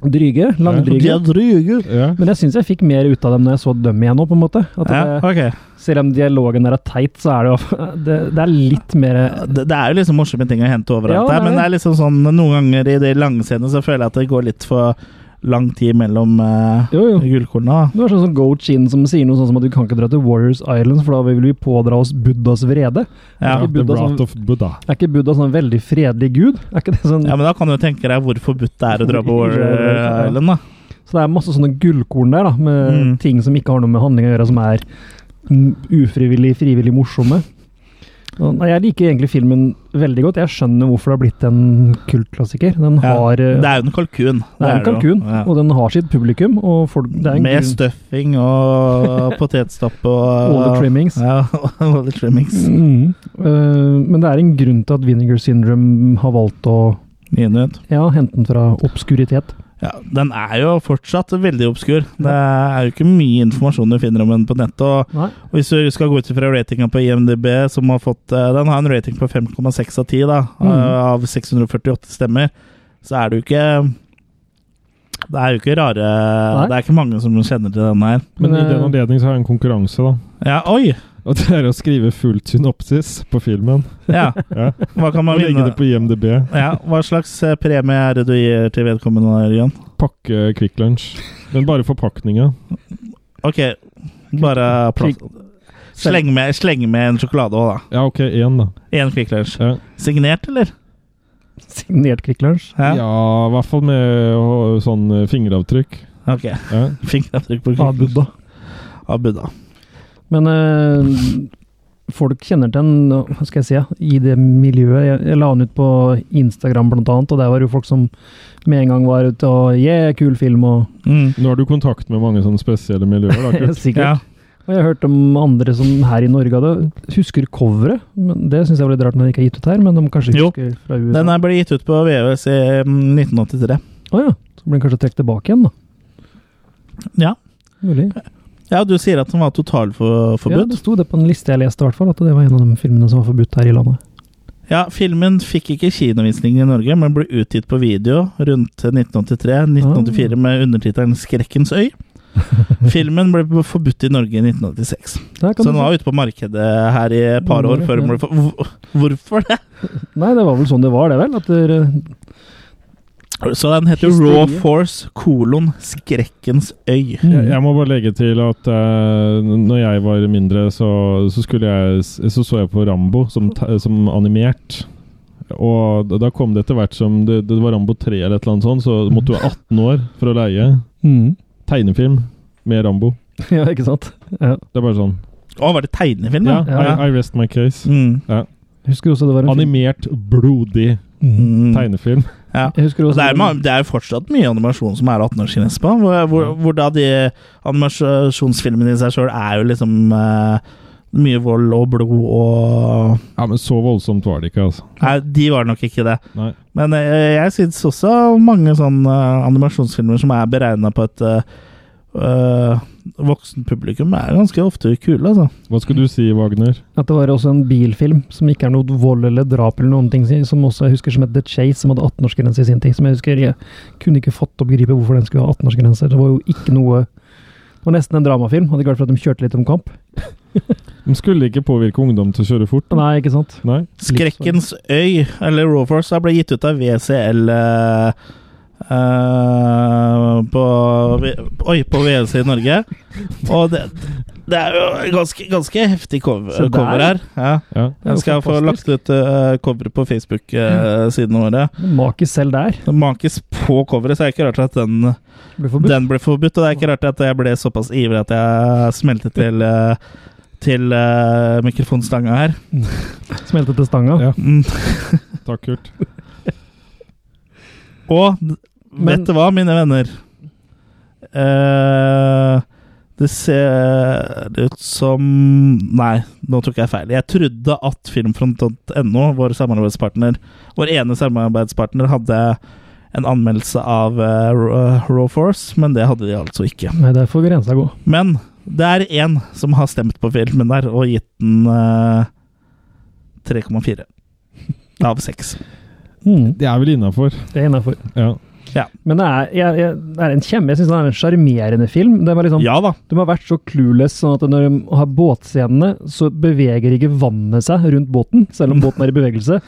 dryge, langdryge. Ja. Men jeg syns jeg fikk mer ut av dem når jeg så dem igjen nå, på en måte. At Ja, det, ok. selv om dialogen der er teit, så er det jo (laughs) Det, det er litt mer Det, det er jo liksom morsomme ting å hente overalt Ja, det her, er men det er liksom sånn noen ganger i de lange scenene så føler jeg at det går litt for lang tid mellom uh, Jo, jo. gullkorna. da. Det var sånn som Go Chin som sier noe sånn som at vi kan ikke dra til Warriors Islands, for da vil vi pådra oss Buddhas vrede. Ja. Ja, Ikke sånn- The Buddha som- Wrath of Buddha. Er ikke Buddha sånn veldig fredelig gud? Er ikke det sånn ja, men da kan du tenke deg hvor forbudt det er å dra på (laughs) Ja. Warrior Island, da. Så det er masse sånne gullkorn der, da, med Mm. ting som ikke har noe med handling å gjøre, som er mm, ufrivillig, frivillig morsomme. Og, nei, jeg liker egentlig filmen veldig godt. Jeg skjønner hvorfor det har blitt en kultklassiker. Den Ja. har eh, Det det er, er jo en kalkun. en kalkun, og den har sitt publikum. Og folk, det er en Med grunn- stuffing og potetstapp og (laughs) all the trimmings. Ja, (laughs) all the trimmings. Mm. Eh, men det er en grunn til at Vinegar Syndrome har valgt å Minutt. ja, hente den fra obskuritet. Ja, den er jo fortsatt veldig obskur. Det er jo ikke mye informasjon du finner om den på nettet. Og Nei. og hvis du skal gå ut ifra ratinga på IMDb, som har fått eh, Den har en rating på 5,6 av 10, da, Mhm. eh, av 648 stemmer, så er det jo ikke Det er jo ikke rare Det er ikke mange som kjenner til denne her. Men i Men, eh, den anledning så har jeg en konkurranse, da. Ja, oi! Og det er å skrive fullt synopsis på filmen. Ja, Ja. hva kan man Og legge vinne? det på IMDb. Ja, hva slags eh, premie er det du gir til vedkommende, Jørgen? Pakke Quick Lunch. Men bare forpakninga. Ok, bare plass. Sleng med, sleng med en sjokolade òg, da. Ja, OK, én, da. Én Quick Lunch. Ja. Signert, eller? Signert Kvikk Lunsj. Ja. Ja, i hvert fall med å- sånn eh, fingeravtrykk. Ok. Ja. Fingeravtrykk på Av Buddha. Av Buddha. Men eh, folk kjenner til den, hva skal jeg si, ja, i det miljøet. Jeg, jeg la den ut på Instagram blant annet, og der var det jo folk som med en gang var ute og Yeah, kul film, og Mm. Nå har du kontakt med mange sånne spesielle miljøer, da, (laughs) Kurt. Ja. sikkert. Og jeg har hørt om andre som her i Norge hadde Husker coveret, men det syns jeg var litt rart når det ikke er gitt ut her, men de kanskje Jo. husker fra USA. Den her ble gitt ut på VØS i mm, 1983. Å ja. Så blir den kanskje trukket tilbake igjen, da. Ja. Mulig. ja, du sier at den var Ja, totalforbudt. det sto det på en liste jeg leste, i hvert fall, at det var en av de filmene som var forbudt her i landet. Ja, filmen fikk ikke kinovisning i Norge, men ble utgitt på video rundt Ah. 1983-1984 med undertittelen 'Skrekkens (laughs) øy'. Filmen ble forbudt i Norge i 1986. Der kan Så du den se. var ute på markedet her i et par år før den ble for... Hvor- Hvorfor det? Nei, det var vel sånn det var, det vel? At det, Så den heter Historie. Raw Force kolon Skrekkens øy. Jeg, jeg må bare legge til at eh, når jeg var mindre, så, så, skulle jeg, så så jeg på Rambo som, te- som animert. Og da- da kom det etter hvert som det, det var Rambo 3 eller et eller annet sånt, så måtte du være 18 år for å leie Mm. tegnefilm med Rambo. (laughs) Ja, ikke sant? Ja. Det er bare sånn. Å, var det tegnefilm? Ja, Mm. da? I, I rest my case. Mm. Jeg husker også det var en film. Animert, blodig Mm. tegnefilm. Ja. Jeg husker Og også det er, ma- det, det er fortsatt mye animasjon som er 18-årsgrense på. Hvor, hvor, hvor da de animasjonsfilmene i seg sjøl er jo liksom eh, mye vold og blod og Ja, men så voldsomt var det ikke, altså. Nei, de var nok ikke det. Nei. Men eh, jeg syns også mange sånne eh, animasjonsfilmer som er beregna på et eh, eh, voksen publikum, er ganske ofte kule, altså. Hva skulle du si, Wagner? at det var også en bilfilm som ikke er noe vold eller drap eller noen ting, som også jeg husker som het The Chase, som hadde 18-årsgrense i sin ting. Som jeg husker jeg kunne ikke fått opp gripet hvorfor den skulle ha 18-årsgrense. Det var jo ikke noe Det var nesten en dramafilm, hadde ikke vært for at de kjørte litt om kamp. De skulle ikke påvirke ungdom til å kjøre fort. Nei, ikke sant? Nei? Skrekkens øy, eller Raw Force, da ble gitt ut av VCL eh, eh, på, V- oi, på VLC i Norge. Og det, Det er jo ganske, ganske heftig cover, Se der. cover her. Ja. Ja. Jeg skal få lagt ut uh, coveret på Mm. Facebook-sidene våre. Makis selv der. Det makes på coveret, så det er ikke rart at den, Blir forbudt. den ble forbudt. Og det er ikke rart at jeg ble såpass ivrig at jeg smelte til, eh, til eh, mikrofonstanga her. Smelte til stanga. Ja. Mm. Takk, Kurt. Og d- Men- vet du hva, mine venner? Eh, det ser ut som Nei, nå tok jeg feil. Jeg trodde at filmfront.no, vår samarbeidspartner, vår ene samarbeidspartner, hadde en anmeldelse av eh, Raw- Raw Force, men det hadde de altså ikke. Nei, der får grensa gå. Men det er én som har stemt på filmen der og gitt den eh, 3,4 av 6. Mm, Det er vel innafor. det er innafor. Ja. Men det er, jeg, jeg, det er en kjempe, jeg synes det er en sjarmerende film. Det var liksom, Ja da. De har vært så clueless sånn at når de har båtscenene, så beveger ikke vannet seg rundt båten, selv om båten er i bevegelse.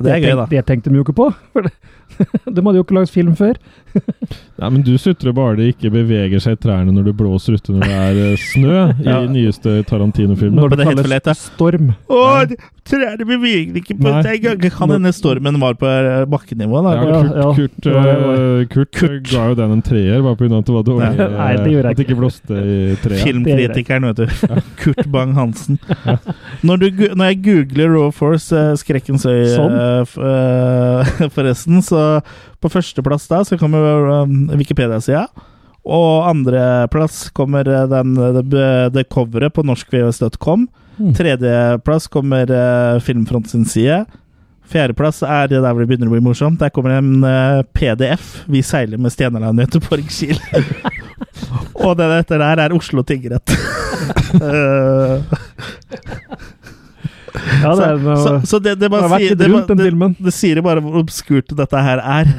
Det er gøy, da. tenkte, det tenkte de jo ikke på. For det, (laughs) de hadde jo ikke lagd film før. Nei, men du sutrer bare det ikke beveger seg i trærne når du blåser ute når det er eh, (laughs) snø, i Ja. nyeste Tarantino-filmen. Når det helt for lett, ja. storm. Å, trærne beveger ikke på Nei. seg engang! Kan hende stormen var på eh, bakkenivå. Da. Ja, Ja, Kurt, ja. Kurt, Det var- det var- eh, Kurt, ga jo den en treer, bare pga. at det var dårlig. eh, Nei, nei, det gjorde jeg At det ikke ikke. blåste i treet. Filmkritikeren, vet du. (laughs) Kurt Bang-Hansen. Når, du gu- når jeg googler Raw Force, eh, Skrekkens øy, Sånn. eh, f- eh, (laughs) forresten, så på førsteplass da, så kommer eh, Wikipedia-sida. Og andreplass kommer eh, den, eh, det, det coveret på norskvhs.com. Mm. Tredjeplass kommer eh, Filmfront sin side. Fjerdeplass er det der hvor det begynner å bli morsomt. Der kommer en eh, PDF. Vi seiler med Stjerneland (laughs) Göteborg-Kiel. Og det dette der er Oslo (laughs) tingrett. Eh, Ja, det er noe, så så det, det, det bare har vært sier, litt det, rundt bare- den det, filmen. Mm. det sier jo bare hvor obskurt dette her er.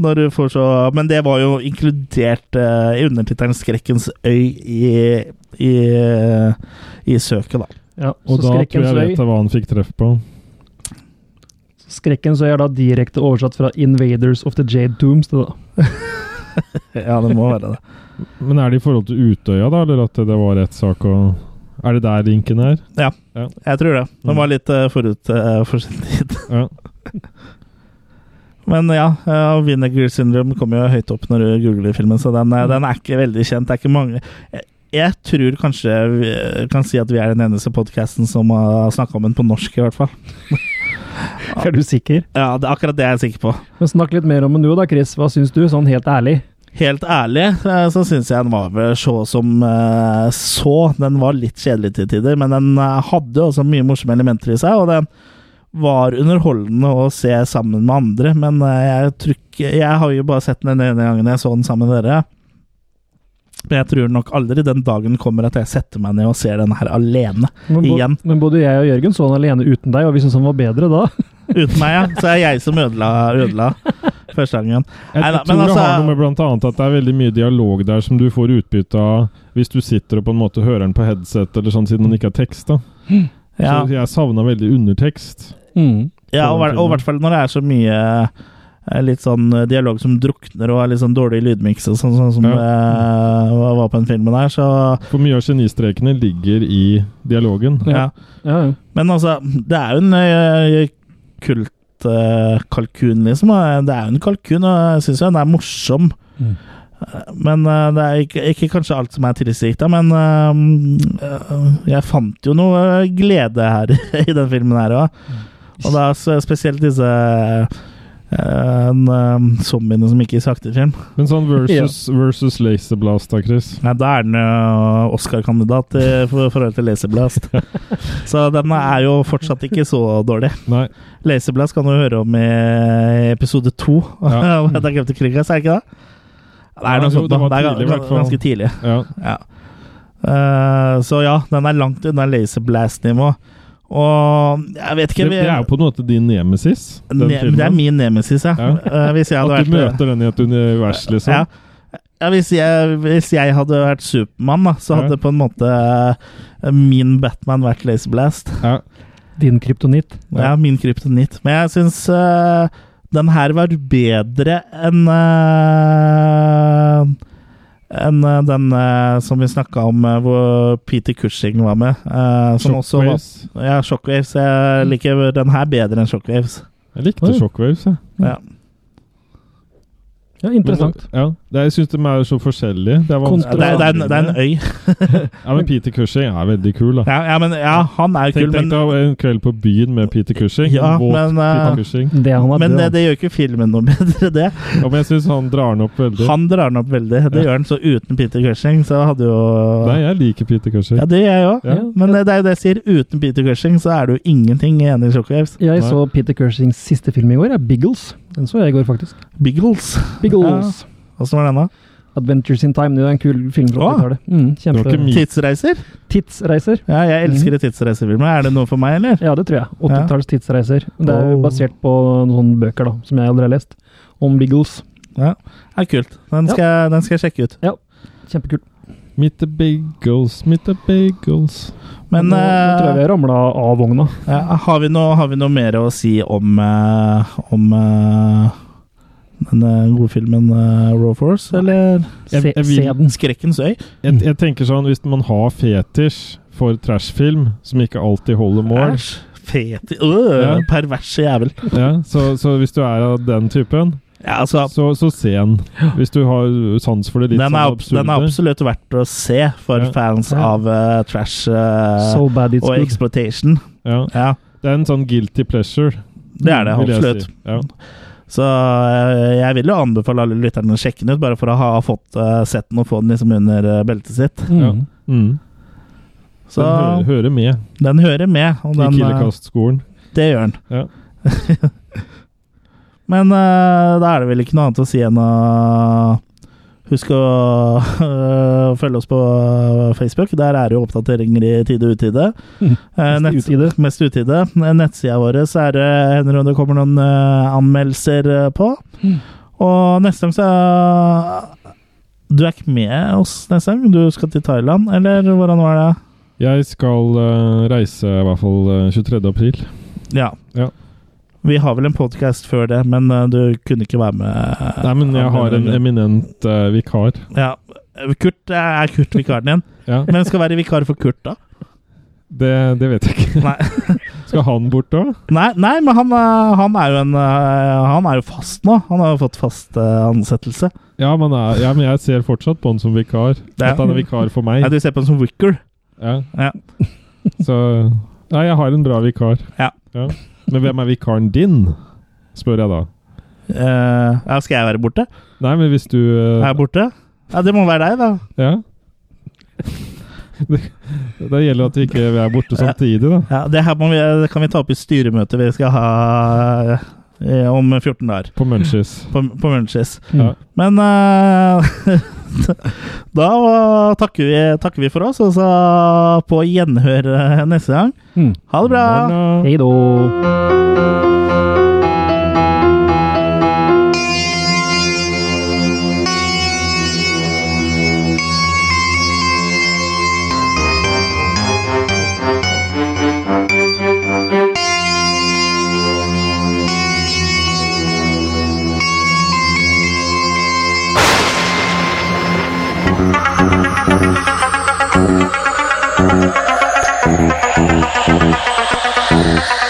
Når du får så Men det var jo inkludert eh, i undertittelen 'Skrekkens øy' i, i, eh, i søket, da. Ja, Og så da tror Skrekkens jeg vet øy. jeg hva han fikk treff på. Skrekkens øy er da direkte oversatt fra 'Invaders of the Jade Tombs'. det Da. Ja, det må være det. Men er det i forhold til Utøya, da, eller at det var rettssak og Er det der linken er? Jeg tror det. Den var litt eh, forut eh, for sin (laughs) tid. Ja. Men ja, eh, Vinegar Syndrome kommer jo høyt opp når du googler filmen, så den, eh, den er ikke veldig kjent. Det er ikke mange Jeg- Jeg tror kanskje vi eh, kan si at vi er den eneste podkasten som har snakka om den på norsk, i hvert fall. Er du sikker? Ja, det er akkurat det jeg er sikker på. Men Snakk litt mer om den du da, Chris. Hva syns du, sånn helt ærlig? Helt ærlig eh, så syns jeg den var vel så som eh, så. Den var litt kjedelig til tider, men den eh, hadde også mye morsomme elementer i seg. Og den var underholdende å se sammen med andre, men eh, jeg, tror ikke- jeg har jo bare sett den den ene gangen jeg så den sammen med dere. Men jeg tror nok aldri den dagen kommer at jeg setter meg ned og ser den her alene. Men, bo- Igjen. men både jeg og Jørgen så den alene uten deg, og vi syntes den var bedre da. Uten meg, ja. Så er jeg som ødela, ødela første gangen. Jeg Neida, tror men det altså- har noe med blant annet at det er veldig mye dialog der som du får utbytte av hvis du sitter og på en måte hører den på headset, eller sånn siden den ikke har tekst. da. Ja. Så jeg savna veldig undertekst. Ja, på og den i filmen. hvert fall når det er så mye eh, litt sånn eh, dialog som drukner og er litt sånn dårlig lydmiks og sånn, sånn som Ja. eh, var på den filmen der, så For mye av genistrekene ligger i dialogen. ja. Ja. Ja, ja. Men altså, det er jo en eh, kult eh, kalkun, liksom. eh, Det er jo en kalkun, og jeg syns jo den er morsom. Mm. Eh, Men eh, det er ikke, ikke kanskje alt som er tilsikta, men eh, eh, jeg fant jo noe eh, glede her (laughs) i den filmen her òg. Og da s- spesielt disse eh, en, eh, zombiene som ikke gikk sakte i film. Men sånn versus, versus Laserblast da, Chris. Nei, da er den jo Oscar-kandidat i for- forhold til Laserblast. (laughs) Så den er jo fortsatt ikke så dårlig. Nei. Laserblast kan du høre om i episode to. (laughs) Ja. av Da krevde krigen, er det ikke det? Det er Ja, noe jo, sånt, det da. var Det er tidlig, i gan- hvert fall. ganske tidlig. Ja. Ja. Eh, så ja, den er langt unna Laserblast-nivå. Og jeg vet Det, ikke det er jo på en måte din nemesis. ne, Den filmen. Det er min nemesis, ja. Ja. (laughs) Eh, hvis jeg hadde At vært du møter den i et univers, liksom. ja. Ja, hvis, jeg, hvis jeg hadde vært Supermann, da, så Ja. hadde på en måte eh, min Batman vært Laserblast. Ja. Din kryptonitt. Ja, Ja. min kryptonitt. Men jeg syns øh, den her var bedre enn øh, enn eh, den eh, som vi snakka om, eh, hvor Peter Cushing var med. eh, som også var, Shockwaves. ja, Shockwaves. Jeg liker den her bedre enn Shockwaves. Jeg likte Oi. Shockwaves, jeg. Ja. Ja, Interessant. Men, ja, det, jeg syns de er så forskjellige. Det er Det, er, det, er en, det er en øy. Ja, men Peter Cushing er veldig kul, da. Ja, ja, men, ja han er Tenk, kul, men, tenk deg en kveld på byen med Peter Cushing. Ja, Våt men, eh, Peter Cushing. Det han har men eh, død det, av. det gjør ikke filmen noe (laughs) bedre, det. Ja, men jeg syns han drar den opp veldig. Han drar den opp veldig. Det gjør han. Så uten Peter Cushing, så hadde jo Nei, jeg liker Peter Cushing. Ja, det gjør jeg òg. Ja. Men eh, det er jo det jeg sier. Uten Peter Cushing så er det jo ingenting igjen i Shockwaves. Jeg Nei. så Peter Cursings siste film i går, er Biggles. Den så jeg i går, faktisk. Biggles. Biggles. Åssen var den, da? Adventures in Time. Det er en kul film Åh. fra 80-tallet. Det Mm, var ikke kjempe... min Tidsreiser? Tidsreiser. Ja, jeg elsker tidsreisefilmer. Er det noe for meg, eller? Mm. Ja, det tror jeg. 80-talls tidsreiser. Det er Åh. basert på noen bøker da, som jeg aldri har lest, om Biggles. Ja, ja kult. Den skal, jeg- den skal jeg sjekke ut. Kjempekult. Meet the Bagels, meet the Bagels. Men nå, nå tror jeg eh, vi har ramla av vogna. ja, har, vi noe, har vi noe mer å si om, eh, om eh, den eh, gode filmen eh, Raw Force, eller? Jeg- Se, jeg vil- se den. Skrekkens øy? Jeg, jeg tenker sånn, Hvis man har fetisj for trashfilm, som ikke alltid holder mål Æsj. Fet øh, Ja. Perverse jævel. ja, så, så hvis du er av den typen, Ja, altså, så, så se den. Hvis du har sans for det litt den, er, sånn ab- den er absurde. absolutt verdt å se for Ja. fans Ja. av eh, trash eh, So bad it's og good. exploitation. Ja, Ja, det er en sånn guilty pleasure. det er det Mm, vil jeg absolutt. si. Ja. Så eh, jeg vil jo anbefale alle lytterne å sjekke den ut, bare for å ha fått eh, sett den og få den liksom under eh, beltet sitt. Mm. Ja. Mm. Så Den hører, hører med den hører med, og i den, eh, Killekast-skolen. det gjør den. Ja. Men eh, da er det vel ikke noe annet å si enn å huske å (laughs) eh, følge oss på eh, Facebook. Der er det jo oppdateringer i tide og utide. Mm. Eh, Mest i nett- utide. Mest utide. Eh, Nettsida vår så er det hender og det kommer noen eh, anmeldelser eh, på. Mm. Og neste gang så Du er ikke med oss neste gang? Du skal til Thailand, eller hvordan var det? Jeg skal eh, reise i hvert fall eh, 23. april. Ja. Ja. Vi har vel en podkast før det, men eh, du kunne ikke være med. Nei, men jeg har en eminent eh, vikar. Ja. Kurt eh, er Kurt vikaren din. Ja, Hvem skal være vikar for Kurt, da? det, det vet jeg ikke. Nei, (laughs) Skal han bort da? nei, nei men han, eh, han er jo en eh, Han er jo fast nå. Han har jo fått fast eh, ansettelse. Ja, men, jeg- ja, men jeg ser fortsatt på han som vikar. Ja. At han er vikar for Nei, meg. du ser på ham som wicker. Ja. Ja. Så Nei, jeg har en bra vikar. Ja. Men hvem er vikaren din? Spør jeg da. Eh, ja, skal jeg være borte? Nei, men hvis du eh, Er jeg borte? Ja, det må være deg, da. Ja. (laughs) Det, det gjelder at vi ikke er borte samtidig, da. Ja, det her må vi, det kan vi ta opp i styremøtet vi skal ha eh, om 14 dager. På Munchies. På, på Munchies. Ja. Men eh, (laughs) da takker vi, takker vi for oss, og så på gjenhør eh, neste gang. Mm. Ha det bra! Morna. Hei då. Thank